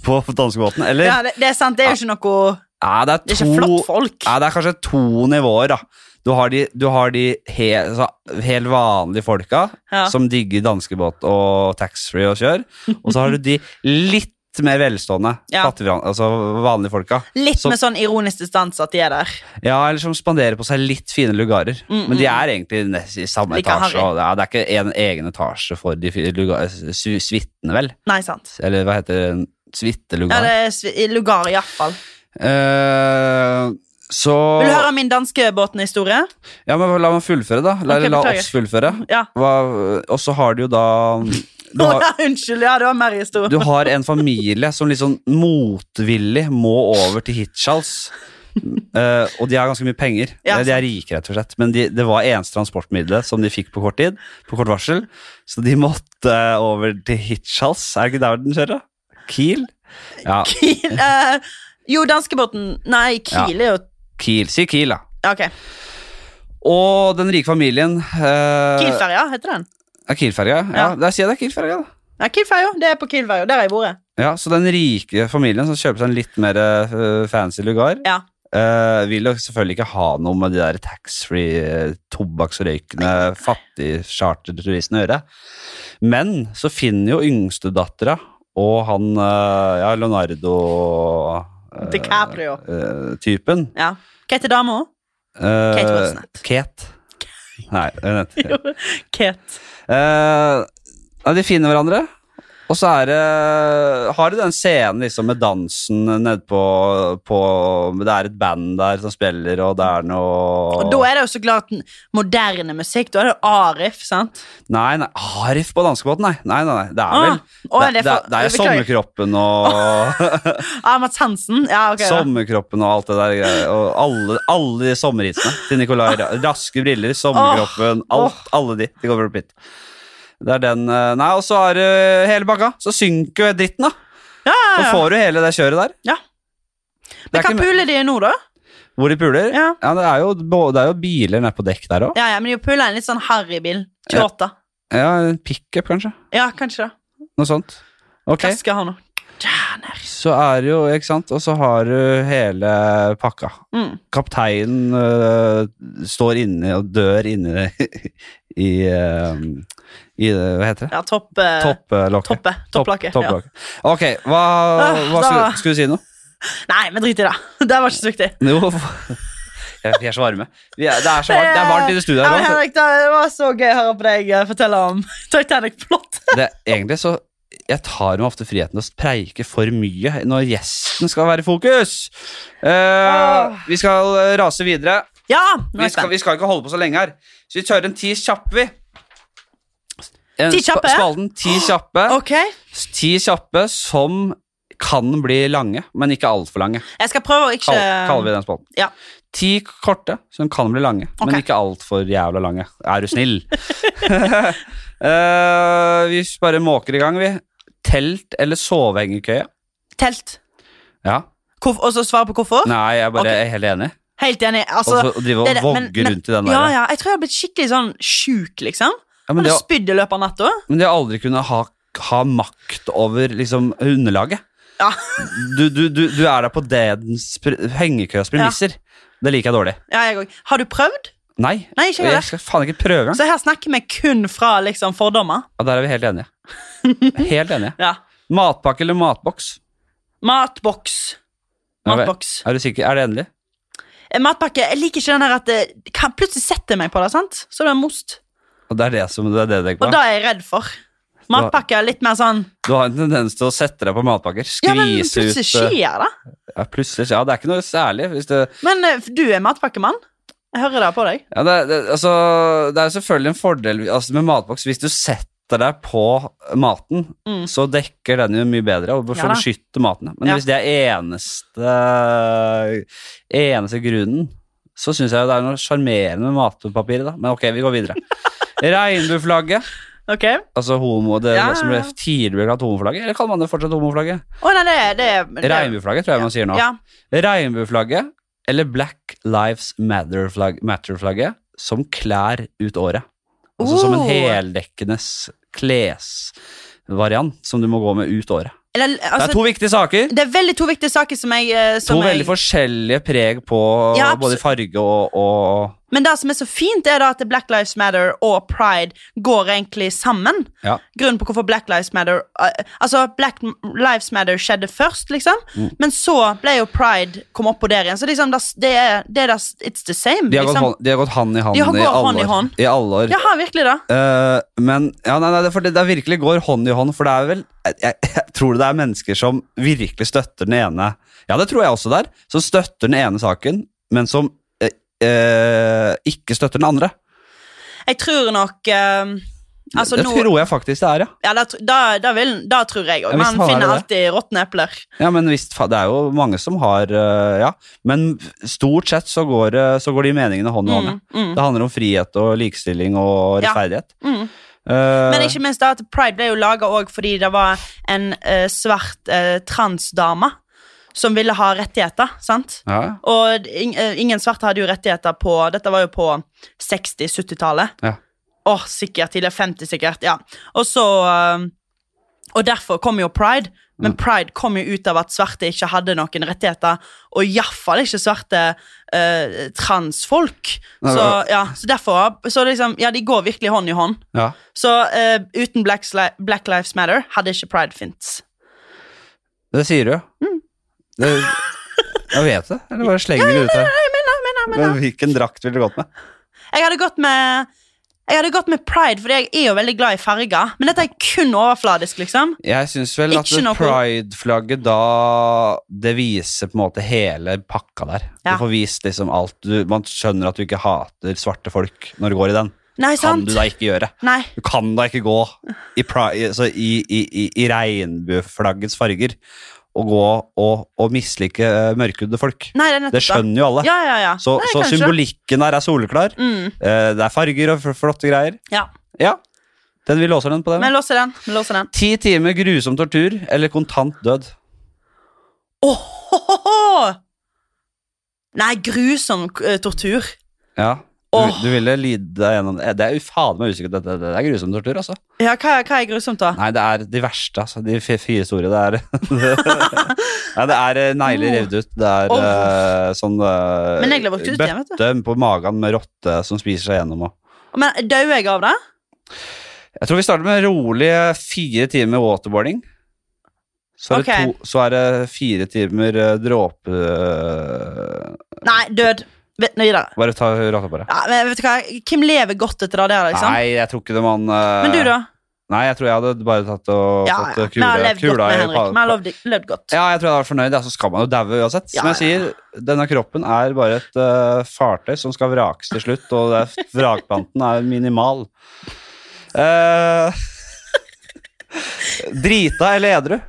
[SPEAKER 1] på danskebåten, eller?
[SPEAKER 2] Ja, det, det er sant. Det er jo ikke noe
[SPEAKER 1] Nei, det
[SPEAKER 2] Det
[SPEAKER 1] er
[SPEAKER 2] er ikke
[SPEAKER 1] to
[SPEAKER 2] flott folk.
[SPEAKER 1] Nei, det er kanskje to nivåer, da. Du har de, du har de he, altså, helt vanlige folka
[SPEAKER 2] Ja.
[SPEAKER 1] som digger danskebåt og taxfree og kjør. Og så har du de litt mer velstående,
[SPEAKER 2] Ja.
[SPEAKER 1] fattige, altså vanlige folka.
[SPEAKER 2] Litt
[SPEAKER 1] Så-
[SPEAKER 2] med sånn ironisk distanse at de er der.
[SPEAKER 1] Ja, eller som spanderer på seg litt fine lugarer.
[SPEAKER 2] Mm,
[SPEAKER 1] Men de er egentlig nest- i samme
[SPEAKER 2] Like
[SPEAKER 1] etasje.
[SPEAKER 2] harry.
[SPEAKER 1] Og, ja, det er ikke en egen etasje for de fi- lugar- su- suitene, vel?
[SPEAKER 2] Nei, sant.
[SPEAKER 1] Eller hva heter det?
[SPEAKER 2] Ja,
[SPEAKER 1] Suitelugar.
[SPEAKER 2] det er svi- i Lugar, iallfall.
[SPEAKER 1] Eh, så
[SPEAKER 2] Vil du høre min danskebåten-historie?
[SPEAKER 1] Ja, men la meg fullføre, da. La,
[SPEAKER 2] Ok,
[SPEAKER 1] la
[SPEAKER 2] beklager.
[SPEAKER 1] oss fullføre.
[SPEAKER 2] Ja.
[SPEAKER 1] Hva, og så har du jo da du
[SPEAKER 2] Å,
[SPEAKER 1] har,
[SPEAKER 2] ja, unnskyld, ja, det var mer historie.
[SPEAKER 1] du har en familie som litt sånn motvillig må over til Hitchhals. Eh, og de har ganske mye penger.
[SPEAKER 2] Ja,
[SPEAKER 1] de er rike, rett og slett. Men de, det var eneste transportmiddelet som de fikk på kort tid. På kort varsel Så de måtte eh, over til Hitchhals. Er det ikke der den kjører? da? Kiel? Ja,
[SPEAKER 2] Kiel eh, Jo, danskebåten Nei, Kiel er jo
[SPEAKER 1] Kiel. Si Kiel, da.
[SPEAKER 2] ja, Ok.
[SPEAKER 1] Og den rike familien eh,
[SPEAKER 2] Kielferja, heter den.
[SPEAKER 1] Ja, Kielferja. Ja,
[SPEAKER 2] Ja.
[SPEAKER 1] der sier jeg det er Kielferja, da.
[SPEAKER 2] Nei, Kielferja. Det er på Kielferja. Der har jeg vært.
[SPEAKER 1] Ja, Så den rike familien som kjøper seg en litt mer eh, fancy lugar,
[SPEAKER 2] Ja.
[SPEAKER 1] eh, vil jo selvfølgelig ikke ha noe med de der taxfree, eh, tobakksrøykende, fattige charterturistene å gjøre. Men så finner jo yngstedattera og han eh, ja, eh, Leonardo-typen
[SPEAKER 2] DiCaprio.
[SPEAKER 1] eh,
[SPEAKER 2] Ja. Hva heter dama òg? Kate Winslet.
[SPEAKER 1] Kate. Nei, hun heter Kate.
[SPEAKER 2] Kate.
[SPEAKER 1] Eh, nei, de finner hverandre. Og så er det Har du den scenen liksom med dansen nede på, på Det er et band der som spiller, og det er noe
[SPEAKER 2] Og da er det jo så klart n- moderne musikk. Da er det jo Arif, sant?
[SPEAKER 1] Nei, nei, Arif på danskebåten, nei. Nei, nei, nei. Det er
[SPEAKER 2] Ah,
[SPEAKER 1] vel
[SPEAKER 2] å, er
[SPEAKER 1] det,
[SPEAKER 2] det
[SPEAKER 1] det, det
[SPEAKER 2] for-
[SPEAKER 1] er jo
[SPEAKER 2] beklager.
[SPEAKER 1] sommerkroppen og
[SPEAKER 2] Ah, Mats Hansen? Ja, ok.
[SPEAKER 1] Sånn.
[SPEAKER 2] da.
[SPEAKER 1] Sommerkroppen og alt det der greia, Og alle, alle de sommerhitsene til Nicolai. Ra-
[SPEAKER 2] Ah.
[SPEAKER 1] Raske briller, sommerkroppen, alt. Alle de. De kommer opp hit. Det er den eh, Nei, og så er det hele bakka. Så synker jo dritten, da.
[SPEAKER 2] Ja,
[SPEAKER 1] Så
[SPEAKER 2] ja, ja.
[SPEAKER 1] får du hele det kjøret der.
[SPEAKER 2] ja.
[SPEAKER 1] Det
[SPEAKER 2] Ah,
[SPEAKER 1] er
[SPEAKER 2] Men hva
[SPEAKER 1] ikke-
[SPEAKER 2] puler de nå, da?
[SPEAKER 1] Hvor de puler?
[SPEAKER 2] Ja.
[SPEAKER 1] det, er jo, bå- det er jo biler nede på dekk der òg.
[SPEAKER 2] Ja, ja, men de puler en litt sånn harry bil. Toyota.
[SPEAKER 1] Ja, en pickup, kanskje.
[SPEAKER 2] Ja, kanskje det.
[SPEAKER 1] Noe sånt. Ok,
[SPEAKER 2] Klasker har noe. Der nede.
[SPEAKER 1] så er det jo, ikke sant, og så har du hele pakka.
[SPEAKER 2] Mm.
[SPEAKER 1] Kapteinen øh, står inne og dør inne i, øh, i øh, Hva heter det?
[SPEAKER 2] Ja, topp... eh,
[SPEAKER 1] Topplokket.
[SPEAKER 2] Toppe. Topplake.
[SPEAKER 1] Topp-
[SPEAKER 2] ja.
[SPEAKER 1] topplokket. Ok, hva,
[SPEAKER 2] Ah,
[SPEAKER 1] hva
[SPEAKER 2] da-
[SPEAKER 1] skulle, skulle du si nå?
[SPEAKER 2] Nei, men drit i det. Det var ikke så viktig.
[SPEAKER 1] Jo Jeg vi er så varme. Vi er, det, er så varmt, det er varmt i det studioet
[SPEAKER 2] Ja,
[SPEAKER 1] her nå.
[SPEAKER 2] men Henrik, det var så gøy å høre på deg eh, fortelle om Titanic-plott.
[SPEAKER 1] det, egentlig så jeg tar meg ofte friheten til å preike for mye når gjesten skal være i fokus. Eh,
[SPEAKER 2] Ah.
[SPEAKER 1] Vi skal eh, rase videre.
[SPEAKER 2] Ja, nå er
[SPEAKER 1] Vi
[SPEAKER 2] jeg
[SPEAKER 1] skal,
[SPEAKER 2] spent.
[SPEAKER 1] vi skal ikke holde på så lenge her. Så vi kjører en ti kjappe, vi. En
[SPEAKER 2] Ti
[SPEAKER 1] spa-
[SPEAKER 2] kjappe?
[SPEAKER 1] Spalten ti kjappe.
[SPEAKER 2] Ok, jeg
[SPEAKER 1] Ti kjappe som kan bli lange, men ikke altfor lange.
[SPEAKER 2] skal prøve å ikke...
[SPEAKER 1] Kall, kaller vi den spalten.
[SPEAKER 2] Ja.
[SPEAKER 1] Ti korte som kan bli lange, men
[SPEAKER 2] Ok.
[SPEAKER 1] ikke altfor jævla lange. Er du snill? Eh, vi bare måker i gang, vi. Telt eller sovehengekøye?
[SPEAKER 2] Telt.
[SPEAKER 1] Ja.
[SPEAKER 2] Hvorf- Og så svare på hvorfor.
[SPEAKER 1] Nei, jeg er bare
[SPEAKER 2] Ok.
[SPEAKER 1] jeg er helt enig.
[SPEAKER 2] Helt enig.
[SPEAKER 1] Og
[SPEAKER 2] Altså,
[SPEAKER 1] så å drive
[SPEAKER 2] det
[SPEAKER 1] og
[SPEAKER 2] er det, men-
[SPEAKER 1] vogge
[SPEAKER 2] men-
[SPEAKER 1] rundt i den der.
[SPEAKER 2] ja, ja, jeg tror jeg har blitt skikkelig sånn syk, liksom.
[SPEAKER 1] Ja, men,
[SPEAKER 2] Men
[SPEAKER 1] det,
[SPEAKER 2] du spydde i løpet av natta.
[SPEAKER 1] men det å aldri kunne ha, ha makt over liksom underlaget.
[SPEAKER 2] Ja.
[SPEAKER 1] Du, du, du, du er der på dedens pre- hengekøyas premisser. Det liker jeg dårlig.
[SPEAKER 2] Ja, jeg også. Har du prøvd?
[SPEAKER 1] Nei,
[SPEAKER 2] Nei, ikke
[SPEAKER 1] jeg
[SPEAKER 2] heller.
[SPEAKER 1] skal faen ikke prøve engang.
[SPEAKER 2] Så her snakker vi kun fra liksom fordommer.
[SPEAKER 1] Ja, der er vi helt enige. Helt enige.
[SPEAKER 2] Ja.
[SPEAKER 1] Matpakke eller matboks?
[SPEAKER 2] Matboks.
[SPEAKER 1] Ja, vel.
[SPEAKER 2] Matboks.
[SPEAKER 1] Er du sikker? Er det endelig?
[SPEAKER 2] Eh, Matpakke, jeg liker ikke den der at det kan plutselig setter jeg meg på det, sant? Så det er most.
[SPEAKER 1] Og det er det som det er det du tenker på?
[SPEAKER 2] Og det er jeg redd for. Matpakke er litt mer sånn
[SPEAKER 1] Du har en tendens til å sette deg på matpakker. Skvise
[SPEAKER 2] Ja, men plutselig
[SPEAKER 1] ut eh,
[SPEAKER 2] skjer det.
[SPEAKER 1] ja, plutselig, ja, det er ikke noe særlig. Hvis det,
[SPEAKER 2] Men eh, du er matpakkemann. Jeg hører det på deg.
[SPEAKER 1] ja, det, det, altså, det er jo selvfølgelig en fordel altså, med matboks. Hvis du setter deg på maten,
[SPEAKER 2] Mm.
[SPEAKER 1] så dekker den jo mye bedre, og for
[SPEAKER 2] Ja da.
[SPEAKER 1] å beskytte maten. Men
[SPEAKER 2] Ja.
[SPEAKER 1] hvis det er eneste, eneste grunnen, så syns jeg jo det er noe sjarmerende med matpapiret, da. Men ok, vi går videre. Regnbueflagget.
[SPEAKER 2] Ok?
[SPEAKER 1] Altså homo, det,
[SPEAKER 2] Ja,
[SPEAKER 1] det som
[SPEAKER 2] ja,
[SPEAKER 1] ble
[SPEAKER 2] ja.
[SPEAKER 1] tidligere ble kalt homoflagget. Eller kaller man det fortsatt homoflagget?
[SPEAKER 2] Å nei, det er det, er- det er-
[SPEAKER 1] Regnbueflagget, tror jeg man sier nå.
[SPEAKER 2] Ja.
[SPEAKER 1] Regnbueflagget eller Black Lives Matter-flagget matter som klær ut året. Altså som en
[SPEAKER 2] Oh.
[SPEAKER 1] heldekkende s- klesvariant som du må gå med ut året.
[SPEAKER 2] Eller,
[SPEAKER 1] det er
[SPEAKER 2] altså,
[SPEAKER 1] to viktige saker.
[SPEAKER 2] det er veldig to viktige saker som jeg eh,
[SPEAKER 1] To
[SPEAKER 2] som jeg,
[SPEAKER 1] veldig forskjellige preg på
[SPEAKER 2] Ja,
[SPEAKER 1] både farge og, og
[SPEAKER 2] Men det som er så fint, er da at Black Lives Matter og pride går egentlig sammen.
[SPEAKER 1] Ja.
[SPEAKER 2] Grunnen på hvorfor Black Lives Matter eh, Altså, Black Lives Matter skjedde først, liksom.
[SPEAKER 1] Mm.
[SPEAKER 2] Men så ble jo pride kom opp på der igjen. Så liksom, det, det er, det er It's the same.
[SPEAKER 1] De har, gått,
[SPEAKER 2] liksom.
[SPEAKER 1] hånd- de har gått hand i hand
[SPEAKER 2] De har
[SPEAKER 1] i
[SPEAKER 2] gått
[SPEAKER 1] alle
[SPEAKER 2] hånd i
[SPEAKER 1] år.
[SPEAKER 2] hånd.
[SPEAKER 1] I alle år.
[SPEAKER 2] Ja, virkelig det.
[SPEAKER 1] Eh, men ja, nei, nei, det, er fordi det er virkelig går hånd i hånd, for det er vel jeg, jeg, jeg tror det er mennesker som virkelig støtter den ene Ja, det tror jeg også det er. Som støtter den ene saken, men som eh, eh, ikke støtter den andre.
[SPEAKER 2] Jeg tror nok eh, Altså,
[SPEAKER 1] det
[SPEAKER 2] nå
[SPEAKER 1] tror jeg faktisk det er, ja.
[SPEAKER 2] Ja, da, tr- da, da, vil, da tror jeg òg.
[SPEAKER 1] Ja, hvis
[SPEAKER 2] Man
[SPEAKER 1] han er
[SPEAKER 2] finner
[SPEAKER 1] det.
[SPEAKER 2] alltid råtne epler.
[SPEAKER 1] Ja, men visst, fa- det er jo mange som har eh, Ja. Men stort sett så går, det- så går de meningene hånd i hånd. ja.
[SPEAKER 2] Mm, mm.
[SPEAKER 1] Det handler om frihet og likestilling og
[SPEAKER 2] Ja.
[SPEAKER 1] rettferdighet.
[SPEAKER 2] Mm.
[SPEAKER 1] Eh,
[SPEAKER 2] Men ikke minst da at Pride ble jo laga òg fordi det var en eh, svart eh, transdame som ville ha rettigheter, sant?
[SPEAKER 1] ja,
[SPEAKER 2] Og d- ing- eh, ingen svarte hadde jo rettigheter på Dette var jo på 60-70-tallet.
[SPEAKER 1] Ja.
[SPEAKER 2] Åh, sikkert tidlig 50, sikkert. Ja. Og så eh, Og derfor kom jo pride.
[SPEAKER 1] Mm.
[SPEAKER 2] Men pride kom jo ut av at svarte ikke hadde noen rettigheter. Og iallfall ikke svarte eh, transfolk.
[SPEAKER 1] Nei,
[SPEAKER 2] Så,
[SPEAKER 1] hva-
[SPEAKER 2] ja, så derfor Så liksom, ja, de går virkelig hånd i hånd.
[SPEAKER 1] ja.
[SPEAKER 2] Så eh, uten Black, Sli- Black Lives Matter hadde ikke pride finnes.
[SPEAKER 1] Det sier du, ja.
[SPEAKER 2] Mm.
[SPEAKER 1] Det, jeg vet det. Eller bare slenger du det ut her. Men hvilken drakt ville du gått med?
[SPEAKER 2] Jeg hadde gått med jeg hadde gått med pride, fordi jeg er jo veldig glad i farger. Men dette er kun overfladisk, liksom.
[SPEAKER 1] Jeg syns vel at
[SPEAKER 2] Ikke noe-
[SPEAKER 1] pride-flagget da Det viser på en måte hele pakka der.
[SPEAKER 2] Ja.
[SPEAKER 1] Du får vist liksom alt du Man skjønner at du ikke hater svarte folk når du går i den.
[SPEAKER 2] Nei,
[SPEAKER 1] Kan
[SPEAKER 2] sant?
[SPEAKER 1] du da ikke gjøre.
[SPEAKER 2] Nei.
[SPEAKER 1] Du kan da ikke gå i, pri- så i, i, i, i regnbueflaggets farger og gå og, og mislike eh, mørkhudede folk.
[SPEAKER 2] Nei, det er
[SPEAKER 1] Det
[SPEAKER 2] nettopp
[SPEAKER 1] skjønner jo alle.
[SPEAKER 2] Ja, ja, ja.
[SPEAKER 1] Så,
[SPEAKER 2] Nei,
[SPEAKER 1] så
[SPEAKER 2] kanskje.
[SPEAKER 1] symbolikken her er soleklar.
[SPEAKER 2] Mm,
[SPEAKER 1] Eh, Det er farger og fl- flotte greier.
[SPEAKER 2] ja.
[SPEAKER 1] Ja, den vi låser den på
[SPEAKER 2] Vi
[SPEAKER 1] den.
[SPEAKER 2] låser den. Vi låser den.
[SPEAKER 1] Ti timer grusom tortur eller kontant død.
[SPEAKER 2] Åh, ho, ho, ho! Nei, grusom eh, tortur.
[SPEAKER 1] Ja, du,
[SPEAKER 2] Åh.
[SPEAKER 1] du ville lide deg gjennom det. Det er jo faen meg usikkert. Det, det, det er grusom tortur, altså.
[SPEAKER 2] Ja, hva, hva er grusomt, da?
[SPEAKER 1] Nei, det er de verste, altså. De fi- fire store. Det er Nei, det er eh, negler
[SPEAKER 2] Åh.
[SPEAKER 1] revet ut. Det er
[SPEAKER 2] Åh.
[SPEAKER 1] eh, sånn eh,
[SPEAKER 2] Men negler vokser ut igjen, vet
[SPEAKER 1] Bøtte på magen med rotte som spiser seg gjennom og
[SPEAKER 2] Men Dauer jeg av det?
[SPEAKER 1] Jeg tror vi starter med rolige fire timer waterboarding. Så er,
[SPEAKER 2] Ok.
[SPEAKER 1] det, to, så er det fire timer eh, dråpe... eh,
[SPEAKER 2] Nei, død. Vet, nå gir dere.
[SPEAKER 1] Bare ta rata på det.
[SPEAKER 2] Ja, men vet du hva? Hvem lever godt etter det der, liksom?
[SPEAKER 1] Nei, jeg tror ikke det man eh,
[SPEAKER 2] Men du, da?
[SPEAKER 1] Nei, jeg tror jeg hadde bare tatt og
[SPEAKER 2] Ja, ja.
[SPEAKER 1] fått
[SPEAKER 2] Vi
[SPEAKER 1] kula,
[SPEAKER 2] har levd godt
[SPEAKER 1] kula
[SPEAKER 2] med
[SPEAKER 1] i
[SPEAKER 2] Henrik.
[SPEAKER 1] pa-
[SPEAKER 2] Vi har levd, levd godt.
[SPEAKER 1] Ja, jeg tror jeg hadde vært fornøyd. ja, Så skal man jo daue uansett.
[SPEAKER 2] Ja,
[SPEAKER 1] Som jeg
[SPEAKER 2] ja,
[SPEAKER 1] sier, denne kroppen er bare et eh, fartøy som skal vrakes til slutt, og det er, vrakpanten er minimal. Eh, drita eller edru?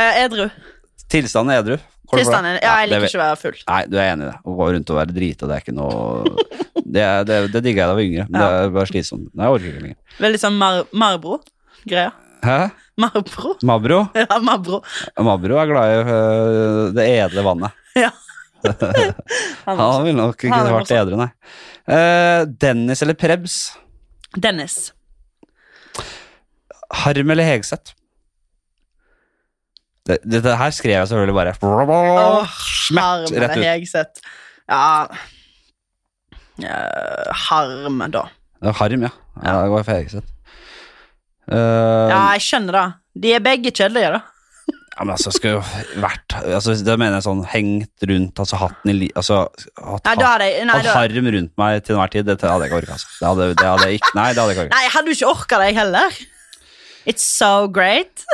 [SPEAKER 2] Eh, edru.
[SPEAKER 1] Tilstanden edru. Går det for deg?
[SPEAKER 2] Tilstanden Ja, jeg
[SPEAKER 1] det
[SPEAKER 2] liker
[SPEAKER 1] vet-
[SPEAKER 2] ikke å være full.
[SPEAKER 1] Nei, du er enig i det. Å gå rundt og være drita, det er ikke noe Det, er- det, det digga jeg da jeg var yngre, men det er bare slitsomt. Nei, Jeg orker ikke lenger.
[SPEAKER 2] Veldig sånn Mar Marbro-greia.
[SPEAKER 1] Hæ?
[SPEAKER 2] Marbro?
[SPEAKER 1] Mabro?
[SPEAKER 2] Ja, Marbro.
[SPEAKER 1] Mabro er glad i øh, det edle vannet.
[SPEAKER 2] Ja.
[SPEAKER 1] Han ville nok ikke
[SPEAKER 2] Han er
[SPEAKER 1] vært
[SPEAKER 2] morsom.
[SPEAKER 1] edru, nei. Eh, Dennis eller Prebz?
[SPEAKER 2] Dennis.
[SPEAKER 1] Harm eller Hegseth? Det- Dette her skrev jeg selvfølgelig bare.
[SPEAKER 2] Åh,
[SPEAKER 1] Smert,
[SPEAKER 2] harm
[SPEAKER 1] rett
[SPEAKER 2] har
[SPEAKER 1] ut.
[SPEAKER 2] jeg sett. Ja Eh, Harm, da.
[SPEAKER 1] Ja, Harm, ja. ja. Det går for Hegseth. Eh,
[SPEAKER 2] Ja, jeg skjønner det. De er begge kjedelige, da.
[SPEAKER 1] Ja, men altså, skulle jo vært altså, Da mener jeg sånn hengt rundt, altså hatten i li... Altså, hatt,
[SPEAKER 2] Nei, da hadde jeg Nei,
[SPEAKER 1] hatt
[SPEAKER 2] da,
[SPEAKER 1] harm rundt meg til enhver tid. Det hadde jeg ikke orka, altså. Det hadde, det hadde jeg ikke, nei, det hadde jeg ikke orka.
[SPEAKER 2] nei jeg hadde jo ikke orka det, jeg heller. It's so great.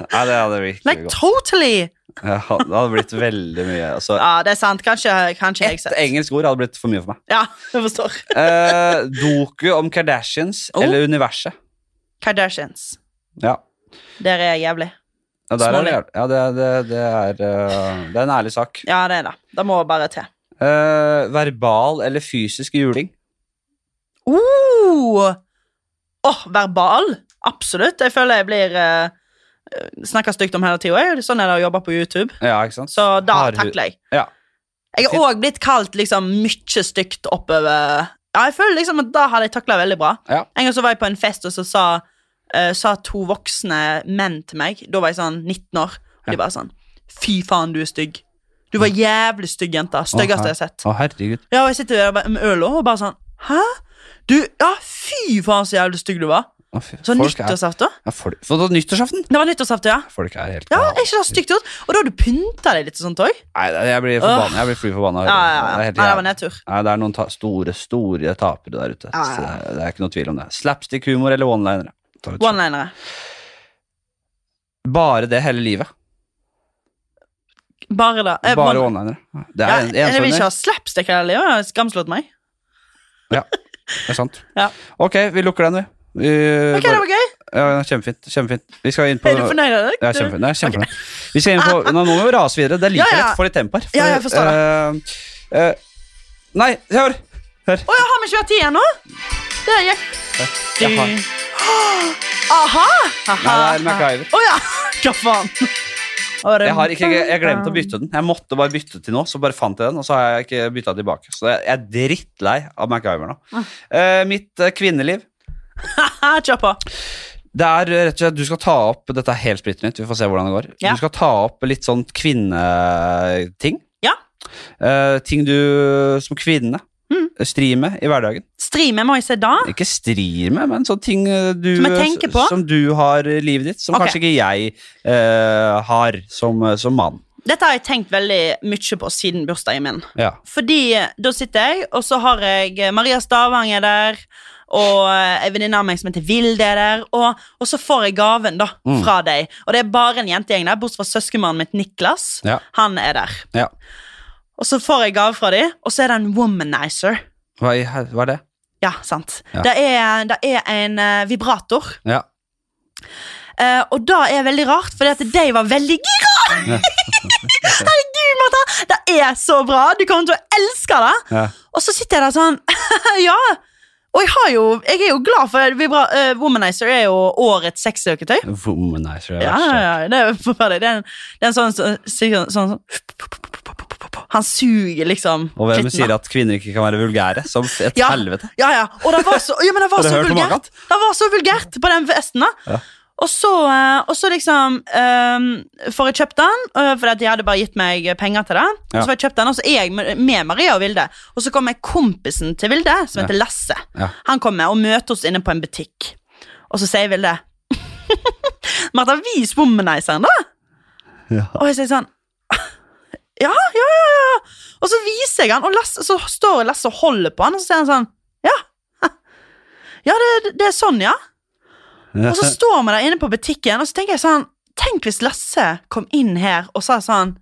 [SPEAKER 1] Nei, det hadde jeg ikke
[SPEAKER 2] Like
[SPEAKER 1] gått.
[SPEAKER 2] totally.
[SPEAKER 1] Ja, det hadde blitt veldig mye altså,
[SPEAKER 2] Ja, det er sant. Kanskje, kanskje jeg
[SPEAKER 1] Ett
[SPEAKER 2] sett.
[SPEAKER 1] engelsk ord hadde blitt for mye for meg.
[SPEAKER 2] Ja, jeg forstår.
[SPEAKER 1] Eh, doku om Kardashians
[SPEAKER 2] Oh.
[SPEAKER 1] eller universet.
[SPEAKER 2] Kardashians.
[SPEAKER 1] Ja.
[SPEAKER 2] Der er jeg jævlig.
[SPEAKER 1] Ja, der er det,
[SPEAKER 2] Smålig.
[SPEAKER 1] ja, det, det, det, er, eh, det er en ærlig sak.
[SPEAKER 2] Ja, det er det. Det må bare til.
[SPEAKER 1] Eh, verbal eller fysisk juling? Oh!
[SPEAKER 2] Åh, Åh, verbal. Absolutt. Jeg føler jeg blir uh, snakka stygt om hele tida. Sånn er det å jobbe på YouTube.
[SPEAKER 1] Ja, ikke sant?
[SPEAKER 2] Så da
[SPEAKER 1] Hardhu-
[SPEAKER 2] takler jeg.
[SPEAKER 1] Ja.
[SPEAKER 2] Jeg har òg blitt kalt liksom mye stygt oppover Ja, jeg føler liksom at da hadde jeg takla veldig bra.
[SPEAKER 1] Ja.
[SPEAKER 2] En gang så var jeg på en fest, og så sa, eh, sa to voksne menn til meg Da var jeg sånn 19 år, og
[SPEAKER 1] Ja. Mm.
[SPEAKER 2] de bare sånn Fy faen, du er stygg. Du var jævlig stygg jente. Styggeste jeg har sett.
[SPEAKER 1] Å, herregud.
[SPEAKER 2] Ja, og jeg sitter der med øl også, og bare sånn Hæ? Du, ja, fy faen så jævlig stygg du var.
[SPEAKER 1] Å, fy-
[SPEAKER 2] Så
[SPEAKER 1] folk er-
[SPEAKER 2] nyttårsaften.
[SPEAKER 1] Ja, folk- for da nyttårsaften?
[SPEAKER 2] Det var nyttårsaften, ja.
[SPEAKER 1] Folk er helt
[SPEAKER 2] Ja, er ikke det stygt gjort? Og da har du pynta deg litt og sånt òg?
[SPEAKER 1] Nei, det- jeg blir forbanna. Jeg blir fly forbanna.
[SPEAKER 2] Ja, ja, ja.
[SPEAKER 1] Det er
[SPEAKER 2] Nei,
[SPEAKER 1] helt
[SPEAKER 2] det var
[SPEAKER 1] jævlig.
[SPEAKER 2] nedtur.
[SPEAKER 1] Nei, det er noen ta store, store tapere der ute.
[SPEAKER 2] Ja,
[SPEAKER 1] Så
[SPEAKER 2] ja.
[SPEAKER 1] det, er, det er ikke noe tvil om det. Slapstick-humor eller one-linere? Ta et shot.
[SPEAKER 2] One-linere.
[SPEAKER 1] Bare det hele livet.
[SPEAKER 2] Bare det. Eh,
[SPEAKER 1] Bare
[SPEAKER 2] one-
[SPEAKER 1] one-linere. Det er
[SPEAKER 2] ja,
[SPEAKER 1] en, en
[SPEAKER 2] jeg vil
[SPEAKER 1] sånn
[SPEAKER 2] ikke
[SPEAKER 1] en.
[SPEAKER 2] ha slapstick heller. Jeg har skamslått meg.
[SPEAKER 1] Det er sant.
[SPEAKER 2] Ja.
[SPEAKER 1] Ok, vi lukker den, vi. vi.
[SPEAKER 2] Ok, det
[SPEAKER 1] bare,
[SPEAKER 2] var gøy.
[SPEAKER 1] ja, kjempefint. kjempefint. Vi skal inn på
[SPEAKER 2] Er du fornøyd med det?
[SPEAKER 1] Ja, kjempefint. Nei, kjempefint. Vi skal inn på Nå må vi rase videre. Det er like
[SPEAKER 2] Ja, ja.
[SPEAKER 1] rett. Få litt tempo her.
[SPEAKER 2] Ja, jeg forstår
[SPEAKER 1] Eh, eh, nei, hør! Hør.
[SPEAKER 2] Å ja, har vi ikke vært igjen nå? Det gikk
[SPEAKER 1] Jeg har- Nei,
[SPEAKER 2] Aha!
[SPEAKER 1] det er MacGyver.
[SPEAKER 2] Å ja! Hva faen? Å, det-
[SPEAKER 1] Jeg har ikke, jeg glemte å bytte den. Jeg måtte bare bytte til nå, så bare fant jeg den, og så har jeg ikke bytta tilbake. Så jeg jeg er drittlei av MacGyver nå.
[SPEAKER 2] Ah.
[SPEAKER 1] Eh, mitt eh, kvinneliv
[SPEAKER 2] Haha, Kjør på.
[SPEAKER 1] Det er eh, rett og slett Du skal ta opp Dette er helt splitter nytt, vi får se hvordan det går.
[SPEAKER 2] Ja.
[SPEAKER 1] Du skal ta opp litt sånn kvinneting.
[SPEAKER 2] Ja.
[SPEAKER 1] Eh, ting du som kvinne eh,
[SPEAKER 2] Mm.
[SPEAKER 1] strir med i hverdagen.
[SPEAKER 2] Streamer må jeg se da?
[SPEAKER 1] Ikke strir med, men sånne ting eh, du,
[SPEAKER 2] Som jeg tenker på?
[SPEAKER 1] som du har i livet ditt, som
[SPEAKER 2] Ok.
[SPEAKER 1] kanskje ikke jeg eh, har som, som mann.
[SPEAKER 2] Dette har jeg tenkt veldig mye på siden bursdagen min.
[SPEAKER 1] Ja.
[SPEAKER 2] Fordi da sitter jeg, og så har jeg Maria Stavang er der, og en venninne av meg som heter Vilde er der, og, og så får jeg gaven da,
[SPEAKER 1] Mm.
[SPEAKER 2] fra deg. Og det er bare en jentegjeng der, bortsett fra søskenmannen mitt Niklas.
[SPEAKER 1] Ja.
[SPEAKER 2] Han er der.
[SPEAKER 1] ja.
[SPEAKER 2] Og så får jeg gave fra dem, og så er det en womanizer.
[SPEAKER 1] Hva, i hel- hva er det?
[SPEAKER 2] Ja, sant.
[SPEAKER 1] Ja.
[SPEAKER 2] Det, er, det er en eh, vibrator.
[SPEAKER 1] Ja.
[SPEAKER 2] Eh, og det er veldig rart, fordi at de var veldig gira!
[SPEAKER 1] Ja.
[SPEAKER 2] Herregud, Martha! Det er så bra! Du kommer til å elske det!
[SPEAKER 1] Ja.
[SPEAKER 2] Og så sitter jeg der sånn Ja! Og jeg, har jo, jeg er jo glad for vibra eh, Womanizer er jo årets sexsøketøy.
[SPEAKER 1] Womanizer er
[SPEAKER 2] Ja,
[SPEAKER 1] verst.
[SPEAKER 2] ja,
[SPEAKER 1] ja.
[SPEAKER 2] ja, det er forferdelig. Det er en, det er en sånn, sånn, sånn, sånn, sånn Han suger liksom
[SPEAKER 1] Og hvem
[SPEAKER 2] klitten,
[SPEAKER 1] sier
[SPEAKER 2] da.
[SPEAKER 1] at kvinner ikke kan være vulgære? Som et
[SPEAKER 2] Ja.
[SPEAKER 1] helvete.
[SPEAKER 2] Ja, ja. Og det var så, ja, men det
[SPEAKER 1] Har
[SPEAKER 2] var
[SPEAKER 1] du
[SPEAKER 2] så
[SPEAKER 1] hørt om
[SPEAKER 2] vulgært.
[SPEAKER 1] Agat?
[SPEAKER 2] Det var så vulgært på den vesten, da.
[SPEAKER 1] Ja.
[SPEAKER 2] Og så, eh, og så liksom eh, får jeg kjøpt den, eh, for at de hadde bare gitt meg penger til det. Og
[SPEAKER 1] Ja.
[SPEAKER 2] så får jeg kjøpt den, og så er jeg med med Maria og Vilde. Og så kommer kompisen til Vilde, som heter Lasse.
[SPEAKER 1] Ja.
[SPEAKER 2] Han kommer og møter oss inne på en butikk. Og så sier Vilde Martha, vis womanizeren, da.
[SPEAKER 1] Ja.
[SPEAKER 2] Og jeg sier sånn Ja, ja, ja, ja. Og så viser jeg han, og Lasse, så står Lasse og holder på han, og så sier han sånn Ja, ja det, det er sånn, ja. Og så står vi der inne på butikken, og så tenker jeg sånn Tenk hvis Lasse kom inn her og sa sånn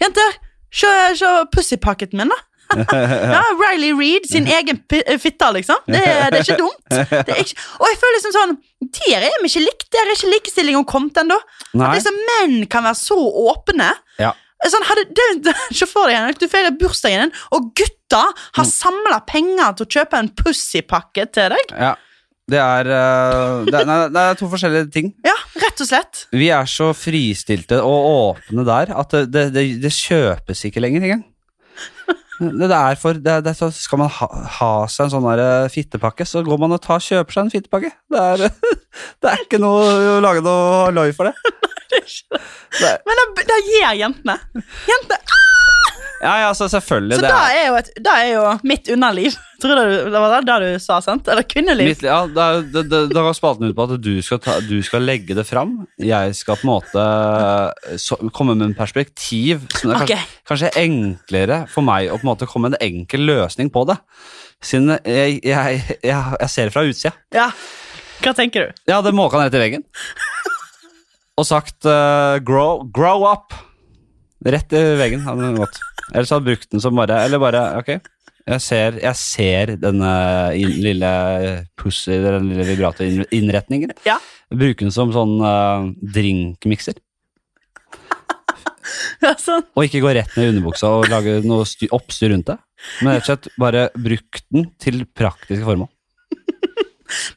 [SPEAKER 2] Jenter, se, se pussypakketen min, da. Ja, Riley Reed sin egen p- fitte, liksom. Det, er- det er ikke dumt. Det er ikke, og jeg føler liksom sånn Der er vi ikke likt. Der er ikke likestillingen kommet ennå.
[SPEAKER 1] Nei.
[SPEAKER 2] At liksom menn kan være så åpne.
[SPEAKER 1] Ja.
[SPEAKER 2] Sånn, hadde, det, se for deg Henrik, du feirer bursdagen din, og gutta har
[SPEAKER 1] Mm.
[SPEAKER 2] samla penger til å kjøpe en pussypakke til deg.
[SPEAKER 1] Ja. Det er, eh, det, er, nei, det er to forskjellige ting.
[SPEAKER 2] Ja, rett og slett.
[SPEAKER 1] Vi er så fristilte og åpne der at det, det, det, det kjøpes ikke lenger engang. Det, det er for, det, er- det er så skal man ha, ha seg en sånn der eh, fittepakke, så går man og tar, kjøper seg en fittepakke. Det er, det er ikke noe å lage noe halloi for det. Det er-
[SPEAKER 2] Men det, det gir jentene. Jentene
[SPEAKER 1] Ja, ja, så selvfølgelig.
[SPEAKER 2] Så
[SPEAKER 1] det
[SPEAKER 2] da
[SPEAKER 1] er-
[SPEAKER 2] er, jo et, da er jo mitt underliv Tror du det var det, det du sa, sant? Eller kvinneliv?
[SPEAKER 1] Mitt, ja, da, da, da, da går spalten ut på at du skal, ta, du skal legge det fram. Jeg skal på en måte eh, så, komme med en perspektiv som det er kanskje,
[SPEAKER 2] Ok.
[SPEAKER 1] kanskje enklere for meg å på en måte komme med en enkel løsning på det. Siden jeg, jeg, jeg, jeg ser det fra utsida.
[SPEAKER 2] Ja. Hva tenker du?
[SPEAKER 1] Jeg hadde måka ned til veggen og sagt eh, grow, 'grow up'. Rett i veggen hadde den gått. Eller så hadde jeg brukt den som bare Eller bare Ok, jeg ser, jeg ser denne inn, lille pussy, den lille vibratorinnretningen.
[SPEAKER 2] Ja.
[SPEAKER 1] Bruke den som sånn eh, drinkmikser.
[SPEAKER 2] Ja, sånn.
[SPEAKER 1] Og ikke gå rett ned i underbuksa og lage noe sty- oppstyr rundt det. Men rett og slett bare bruk den til praktiske formål.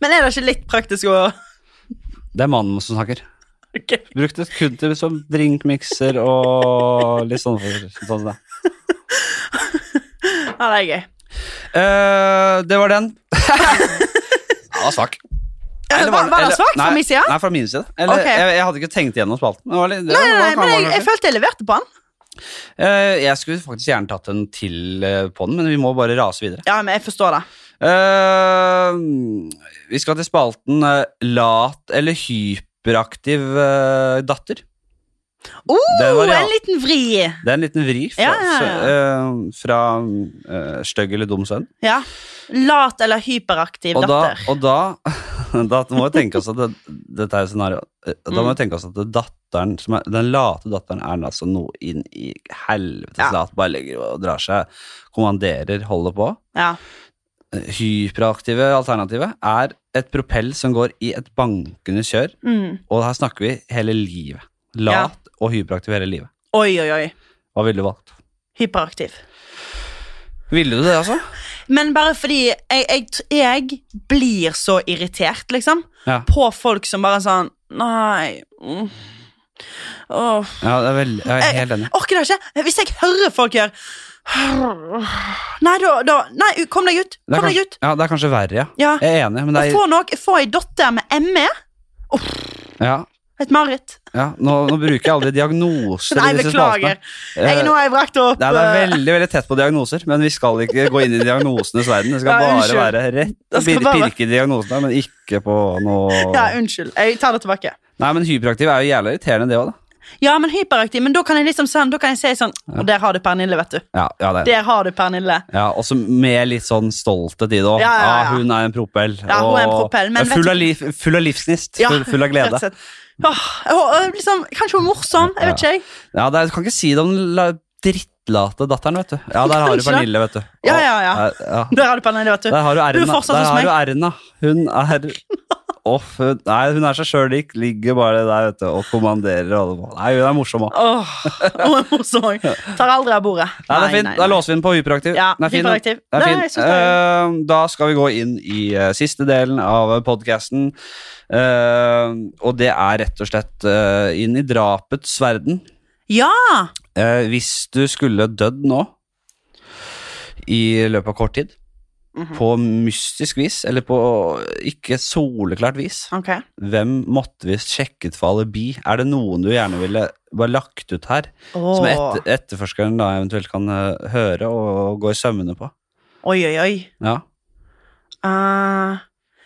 [SPEAKER 2] Men er det ikke litt praktisk å
[SPEAKER 1] Det er mannen som snakker.
[SPEAKER 2] Ok.
[SPEAKER 1] Bruk det kun til som drinkmikser og litt sånn. sånn som det.
[SPEAKER 2] Ja, det er gøy.
[SPEAKER 1] Eh, det var den. ja, svak.
[SPEAKER 2] Var, var, det svakt fra min side?
[SPEAKER 1] Nei, fra min side. Eller,
[SPEAKER 2] Ok.
[SPEAKER 1] jeg, jeg hadde ikke tenkt gjennom spalten. men det var litt- det
[SPEAKER 2] Nei,
[SPEAKER 1] var-
[SPEAKER 2] nei, nei,
[SPEAKER 1] kan-
[SPEAKER 2] men
[SPEAKER 1] var
[SPEAKER 2] jeg, jeg
[SPEAKER 1] kanskje.
[SPEAKER 2] følte jeg leverte på den.
[SPEAKER 1] Eh, jeg skulle faktisk gjerne tatt en til eh, på den, men vi må bare rase videre.
[SPEAKER 2] Ja, men jeg forstår det.
[SPEAKER 1] Eh, vi skal til spalten eh, lat eller hyperaktiv eh, datter. Det
[SPEAKER 2] Oh,
[SPEAKER 1] var det, ja.
[SPEAKER 2] en liten vri!
[SPEAKER 1] Det er en liten vri fra,
[SPEAKER 2] Ja, ja, ja.
[SPEAKER 1] så- eh, fra eh, stygg eller dum sønn.
[SPEAKER 2] Ja. Lat eller hyperaktiv
[SPEAKER 1] Og da,
[SPEAKER 2] datter.
[SPEAKER 1] og da, da må vi tenke oss at det, dette er scenarioet. eh, Da må vi tenke oss at det datteren, som er, den late datteren er den altså noe inn i helvetes
[SPEAKER 2] Ja.
[SPEAKER 1] lat, bare ligger og drar seg, kommanderer, holder på.
[SPEAKER 2] Ja.
[SPEAKER 1] Eh, Hyperaktive alternativet er et propell som går i et bankende kjør,
[SPEAKER 2] Mm.
[SPEAKER 1] og her snakker vi hele livet. Lat og hyperaktiv hele livet.
[SPEAKER 2] Oi, oi, oi.
[SPEAKER 1] Hva ville du valgt?
[SPEAKER 2] Hyperaktiv.
[SPEAKER 1] Ville du det, altså?
[SPEAKER 2] Men bare fordi jeg, jeg, jeg blir så irritert, liksom.
[SPEAKER 1] Ja.
[SPEAKER 2] På folk som bare sånn Nei. Mm. Åh,
[SPEAKER 1] Ja, det er vel, jeg
[SPEAKER 2] Eh,
[SPEAKER 1] er helt enig.
[SPEAKER 2] orker det ikke. Hvis jeg hører folk gjøre Nei, da, da Nei, kom deg ut.
[SPEAKER 1] Det er
[SPEAKER 2] Kom deg
[SPEAKER 1] kanskje,
[SPEAKER 2] ut.
[SPEAKER 1] ja, det er kanskje verre, ja.
[SPEAKER 2] Ja.
[SPEAKER 1] Jeg er enig, men det
[SPEAKER 2] Og
[SPEAKER 1] er
[SPEAKER 2] få noe. Få ei datter med ME.
[SPEAKER 1] ja,
[SPEAKER 2] Et mareritt.
[SPEAKER 1] ja. Nå, nå bruker jeg aldri diagnoser
[SPEAKER 2] Nei,
[SPEAKER 1] i disse spaltene.
[SPEAKER 2] beklager. Jeg, nå har jeg vrakt opp.
[SPEAKER 1] Eh, Nei, det er
[SPEAKER 2] eh,
[SPEAKER 1] veldig veldig tett på diagnoser, men vi skal ikke gå inn i diagnosenes verden. Det skal
[SPEAKER 2] Ja,
[SPEAKER 1] bare
[SPEAKER 2] unnskyld.
[SPEAKER 1] være rett
[SPEAKER 2] Det
[SPEAKER 1] og
[SPEAKER 2] skal
[SPEAKER 1] pir-
[SPEAKER 2] bare-
[SPEAKER 1] pirke i diagnosene, men ikke på
[SPEAKER 2] Ja,
[SPEAKER 1] noe
[SPEAKER 2] unnskyld. Jeg tar det tilbake.
[SPEAKER 1] Nei, men hyperaktiv er jo jævlig irriterende, det òg, da.
[SPEAKER 2] Ja, men hyperaktiv. Men da kan jeg liksom sånn, da kan jeg si sånn Og der har du Pernille, vet du.
[SPEAKER 1] Ja, ja, det er.
[SPEAKER 2] Der har du Pernille.
[SPEAKER 1] Ja, Også med litt sånn stolthet i det òg.
[SPEAKER 2] Ja, ja, ja.
[SPEAKER 1] hun er en propell.
[SPEAKER 2] Ja, hun er en
[SPEAKER 1] og-
[SPEAKER 2] propell, men vet
[SPEAKER 1] full,
[SPEAKER 2] du-
[SPEAKER 1] av liv, full av livsgnist.
[SPEAKER 2] Ja,
[SPEAKER 1] full, full av
[SPEAKER 2] Rett
[SPEAKER 1] glede.
[SPEAKER 2] og slett. Åh, og, og liksom, kanskje hun er morsom. Jeg vet ikke, jeg.
[SPEAKER 1] Ja, det er, Du kan ikke si det om den la- drittlate datteren, vet du. Ja, der har du
[SPEAKER 2] Kanskje.
[SPEAKER 1] Pernille, vet du.
[SPEAKER 2] Ja,
[SPEAKER 1] Og-
[SPEAKER 2] ja, ja.
[SPEAKER 1] ja.
[SPEAKER 2] Der har du Pernille, vet du.
[SPEAKER 1] Der har du Erna.
[SPEAKER 2] Hun er fortsatt
[SPEAKER 1] Der
[SPEAKER 2] hos
[SPEAKER 1] har
[SPEAKER 2] meg.
[SPEAKER 1] du Erna. Hun er Off, hun, nei, hun er seg sjøl lik. Ligger bare der vet du, og kommanderer. Og, holder på. nei, hun er morsom òg.
[SPEAKER 2] Åh, hun er morsom òg. Tar aldri av bordet.
[SPEAKER 1] Nei, det er fint. Da låser vi den på hyperaktiv.
[SPEAKER 2] Ja,
[SPEAKER 1] den er fin. den.
[SPEAKER 2] hyperaktiv.
[SPEAKER 1] Den er
[SPEAKER 2] Nei,
[SPEAKER 1] fin.
[SPEAKER 2] jeg synes det er-
[SPEAKER 1] Eh, da skal vi gå inn i eh, siste delen av podkasten. og det er rett og slett eh, inn i drapets verden.
[SPEAKER 2] Ja!
[SPEAKER 1] Eh, hvis du skulle dødd nå, i løpet av kort tid,
[SPEAKER 2] Mhm.
[SPEAKER 1] på mystisk vis, eller på ikke soleklart vis,
[SPEAKER 2] Ok.
[SPEAKER 1] hvem måtte vi sjekket for alibi? Er det noen du gjerne ville bare lagt ut her, som
[SPEAKER 2] Åh.
[SPEAKER 1] etter, etterforskeren da eventuelt kan eh, høre og gå i sømmene på?
[SPEAKER 2] Oi, oi, oi.
[SPEAKER 1] Ja,
[SPEAKER 2] Eh,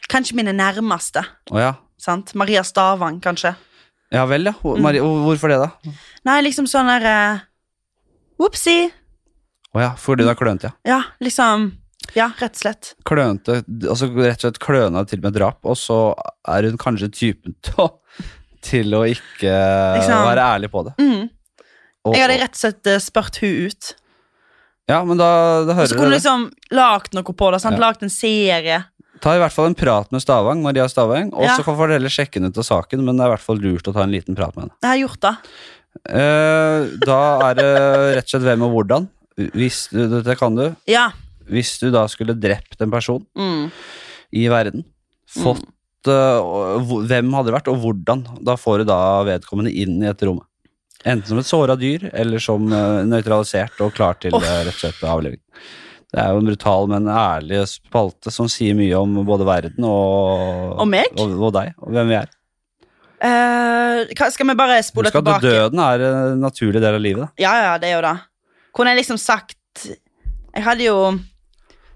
[SPEAKER 2] kanskje mine nærmeste.
[SPEAKER 1] å ja.
[SPEAKER 2] Sant? Maria Stavang, kanskje.
[SPEAKER 1] Ja vel, ja. Hvor-
[SPEAKER 2] Mm.
[SPEAKER 1] Marie, hvor- hvorfor det, da?
[SPEAKER 2] Nei, liksom sånn der uh, Opsi.
[SPEAKER 1] Å ja, fordi du er klønete, ja.
[SPEAKER 2] Ja, liksom. Ja, rett og slett.
[SPEAKER 1] klønete, altså rett og slett kløna til med drap, og så er hun kanskje typen til å, til å ikke
[SPEAKER 2] Liksom.
[SPEAKER 1] være ærlig på det.
[SPEAKER 2] Mm.
[SPEAKER 1] Og,
[SPEAKER 2] Jeg hadde rett og slett eh, spurt hun ut.
[SPEAKER 1] Ja, men da, da
[SPEAKER 2] Og
[SPEAKER 1] hører
[SPEAKER 2] så
[SPEAKER 1] du
[SPEAKER 2] kunne du
[SPEAKER 1] det.
[SPEAKER 2] liksom lagt noe på det. Sant?
[SPEAKER 1] Ja.
[SPEAKER 2] Lagt en serie.
[SPEAKER 1] Ta i hvert fall en prat med Stavang, Maria Stavang, og
[SPEAKER 2] Ja.
[SPEAKER 1] så får dere heller sjekke henne til saken, men det er i hvert fall lurt å ta en liten prat med henne.
[SPEAKER 2] Jeg har gjort det.
[SPEAKER 1] Eh, da er det rett og slett hvem og hvordan. Hvis du, dette kan du.
[SPEAKER 2] Ja.
[SPEAKER 1] Hvis du da skulle drept en person
[SPEAKER 2] Mm.
[SPEAKER 1] i verden, fått eh, og hvor- hvem hadde det vært, og hvordan. Da får du da vedkommende inn i et rom. Enten som et såra dyr, eller som eh, nøytralisert og klar til
[SPEAKER 2] Uff.
[SPEAKER 1] eh, rett og slett avlevering. Det er jo en brutal, men ærlig spalte som sier mye om både verden og
[SPEAKER 2] Og meg?
[SPEAKER 1] Og, og deg, og hvem vi er.
[SPEAKER 2] Eh, hva- skal vi bare spole
[SPEAKER 1] Husk at
[SPEAKER 2] tilbake?
[SPEAKER 1] døden er en naturlig del av livet. Da.
[SPEAKER 2] Ja, ja, det er jo det. Kunne jeg liksom sagt Jeg hadde jo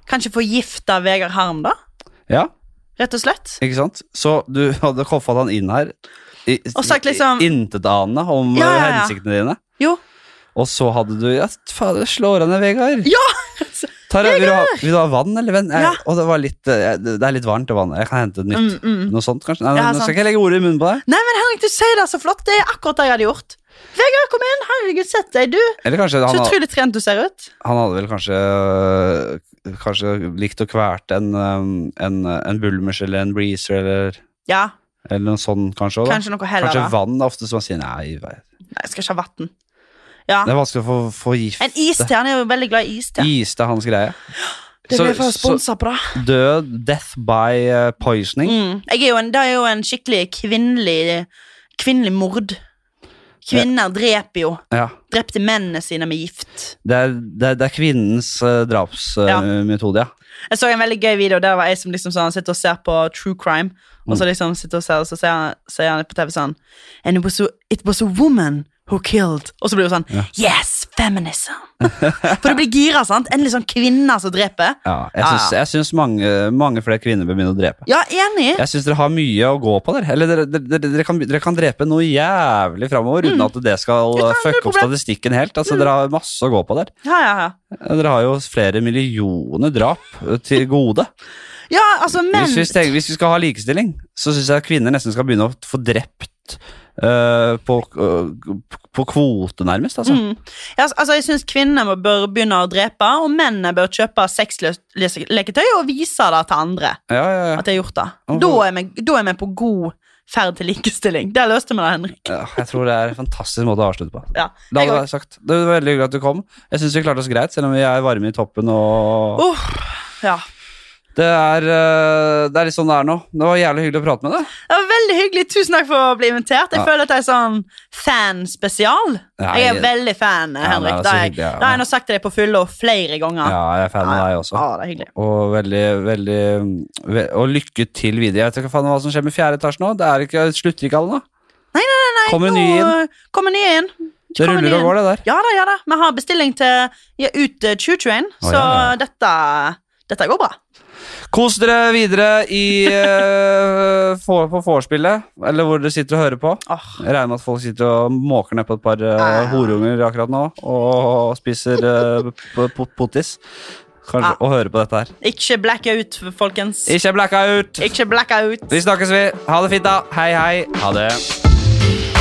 [SPEAKER 2] kanskje forgifta Vegard Harm, da.
[SPEAKER 1] Ja,
[SPEAKER 2] Rett og slett.
[SPEAKER 1] ikke sant? Så du hadde koffa han inn her, i-
[SPEAKER 2] Og sagt liksom-
[SPEAKER 1] intetanende om
[SPEAKER 2] Ja, ja,
[SPEAKER 1] eh,
[SPEAKER 2] ja.
[SPEAKER 1] hensiktene dine.
[SPEAKER 2] Jo.
[SPEAKER 1] Og så hadde du Ja, fader, slår han ned Vegard?
[SPEAKER 2] Ja!
[SPEAKER 1] Tara, vil du, ha, vil du ha vann, eller? Venn? Jeg,
[SPEAKER 2] Ja.
[SPEAKER 1] Og det, var litt, eh, det det er litt varmt, det vannet. Jeg kan hente et nytt.
[SPEAKER 2] Mm, mm.
[SPEAKER 1] Noe sånt, kanskje? Nei,
[SPEAKER 2] Ja,
[SPEAKER 1] nå skal
[SPEAKER 2] sant.
[SPEAKER 1] jeg ikke legge ordet i munnen på deg.
[SPEAKER 2] Nei, men Henrik, du sier det så flott. Det er akkurat det jeg hadde gjort. Vegard, kom inn! Herregud, sett deg, du.
[SPEAKER 1] Eller kanskje
[SPEAKER 2] Så
[SPEAKER 1] han, ha-
[SPEAKER 2] utrolig trent du ser ut.
[SPEAKER 1] han hadde vel kanskje øh, Kanskje likt å kverte en, øhm, en, eh, en Bulmers eller en Breezer eller,
[SPEAKER 2] Ja,
[SPEAKER 1] eller noe sånt, kanskje. Også, da.
[SPEAKER 2] kanskje noe heller.
[SPEAKER 1] kanskje
[SPEAKER 2] da.
[SPEAKER 1] vann er ofte som man sier nei, nei.
[SPEAKER 2] Nei, jeg skal ikke ha vann. Ja.
[SPEAKER 1] Det er vanskelig å få, få gift.
[SPEAKER 2] En iste. Han er jo veldig glad i iste.
[SPEAKER 1] Is, det er hans greie.
[SPEAKER 2] Det
[SPEAKER 1] Så-
[SPEAKER 2] blir for
[SPEAKER 1] så
[SPEAKER 2] sponsa på, da.
[SPEAKER 1] død, death by eh, poisoning.
[SPEAKER 2] Mm. Jeg er jo en, det er jo en skikkelig kvinnelig Kvinnelig mord. Kvinner dreper jo.
[SPEAKER 1] Ja.
[SPEAKER 2] Drepte mennene sine med gift.
[SPEAKER 1] Det er, det, er, det er kvinnens eh,
[SPEAKER 2] Ja.
[SPEAKER 1] drapsmetode, ja.
[SPEAKER 2] Jeg så en veldig gøy video der det var jeg som liksom sånn, sitter og ser på true crime. Og
[SPEAKER 1] Mm.
[SPEAKER 2] så liksom sitter og ser, og så ser han- sier han på TV sånn And it was, a, it was a woman who killed. Og så blir hun sånn
[SPEAKER 1] Ja.
[SPEAKER 2] Yes, Feminism. For du blir gira, sant? Endelig sånn kvinner som dreper.
[SPEAKER 1] Ja, jeg syns, jeg syns mange, mange flere kvinner bør begynne å drepe.
[SPEAKER 2] Ja, enig.
[SPEAKER 1] Jeg syns dere har mye å gå på der. Eller dere, dere, dere, dere, kan, dere kan drepe noe jævlig framover uten at det skal
[SPEAKER 2] Ja,
[SPEAKER 1] eh,
[SPEAKER 2] null
[SPEAKER 1] fucke opp
[SPEAKER 2] problem.
[SPEAKER 1] statistikken helt. Altså, Dere har masse å gå på der.
[SPEAKER 2] Ja, ja, ja.
[SPEAKER 1] Dere har jo flere millioner drap eh, til gode.
[SPEAKER 2] ja altså, men
[SPEAKER 1] Hvis vi, tenker, hvis vi skal ha likestilling, så syns jeg kvinner nesten skal begynne å få drept eh, på, eh, på kvote, nærmest. Altså.
[SPEAKER 2] Mm. Ja, altså, jeg syns kvinnene må- bør begynne å drepe, og mennene bør kjøpe sexløst lese- leketøy og vise det til andre.
[SPEAKER 1] Ja, ja, ja.
[SPEAKER 2] At de har gjort det.
[SPEAKER 1] Mhm.
[SPEAKER 2] Da er vi, da er vi på god ferd til likestilling. Der løste vi det, Henrik.
[SPEAKER 1] Ja, Jeg tror det er en fantastisk måte å avslutte på.
[SPEAKER 2] Ja,
[SPEAKER 1] Det,
[SPEAKER 2] jeg
[SPEAKER 1] hadde
[SPEAKER 2] går-
[SPEAKER 1] jeg sagt. det var veldig hyggelig at du kom. Jeg syns vi klarte oss greit, selv om vi er varme i toppen. Og
[SPEAKER 2] Uff, ja.
[SPEAKER 1] det, er, eh, det er litt sånn det er nå. Det var jævlig hyggelig å prate med deg.
[SPEAKER 2] Det var veldig hyggelig. Tusen takk for å bli invitert. Jeg
[SPEAKER 1] Ja.
[SPEAKER 2] føler at det er sånn fan-spesial.
[SPEAKER 1] Nei,
[SPEAKER 2] Jeg er veldig fan,
[SPEAKER 1] det er
[SPEAKER 2] Henrik.
[SPEAKER 1] så
[SPEAKER 2] Det har jeg,
[SPEAKER 1] hyggelig, ja.
[SPEAKER 2] det har jeg nå sagt til deg på fulle og flere ganger.
[SPEAKER 1] Ja, jeg er fan av deg også.
[SPEAKER 2] Ja, det er hyggelig.
[SPEAKER 1] Og veldig, veldig ve- Og lykke til videre. Jeg vet ikke faen hva som skjer med fjerde etasje nå. Det er ikke, slutter ikke alle nå. Kommer en ny inn.
[SPEAKER 2] Nå, eh, Kommer nye inn.
[SPEAKER 1] Det
[SPEAKER 2] Kommer
[SPEAKER 1] ruller
[SPEAKER 2] nye
[SPEAKER 1] og
[SPEAKER 2] inn.
[SPEAKER 1] går, det der.
[SPEAKER 2] Ja da, ja da. Vi har bestilling til ja, ut eh, Choo Train,
[SPEAKER 1] Å,
[SPEAKER 2] så
[SPEAKER 1] ja.
[SPEAKER 2] dette, dette går bra.
[SPEAKER 1] Kos dere videre i, eh, for, på vorspielet, eller hvor dere sitter og hører på.
[SPEAKER 2] Åh,
[SPEAKER 1] Jeg regner med at folk sitter og måker ned på et par eh,
[SPEAKER 2] Ja.
[SPEAKER 1] horunger akkurat nå og spiser eh, p- p- potis. Kanskje,
[SPEAKER 2] Ja.
[SPEAKER 1] Og hører på dette her.
[SPEAKER 2] Ikke blackout, folkens.
[SPEAKER 1] Ikke blacka ut!
[SPEAKER 2] Ikke blackout.
[SPEAKER 1] Vi snakkes, vi. Ha det fint, da. Hei, hei. Ha det.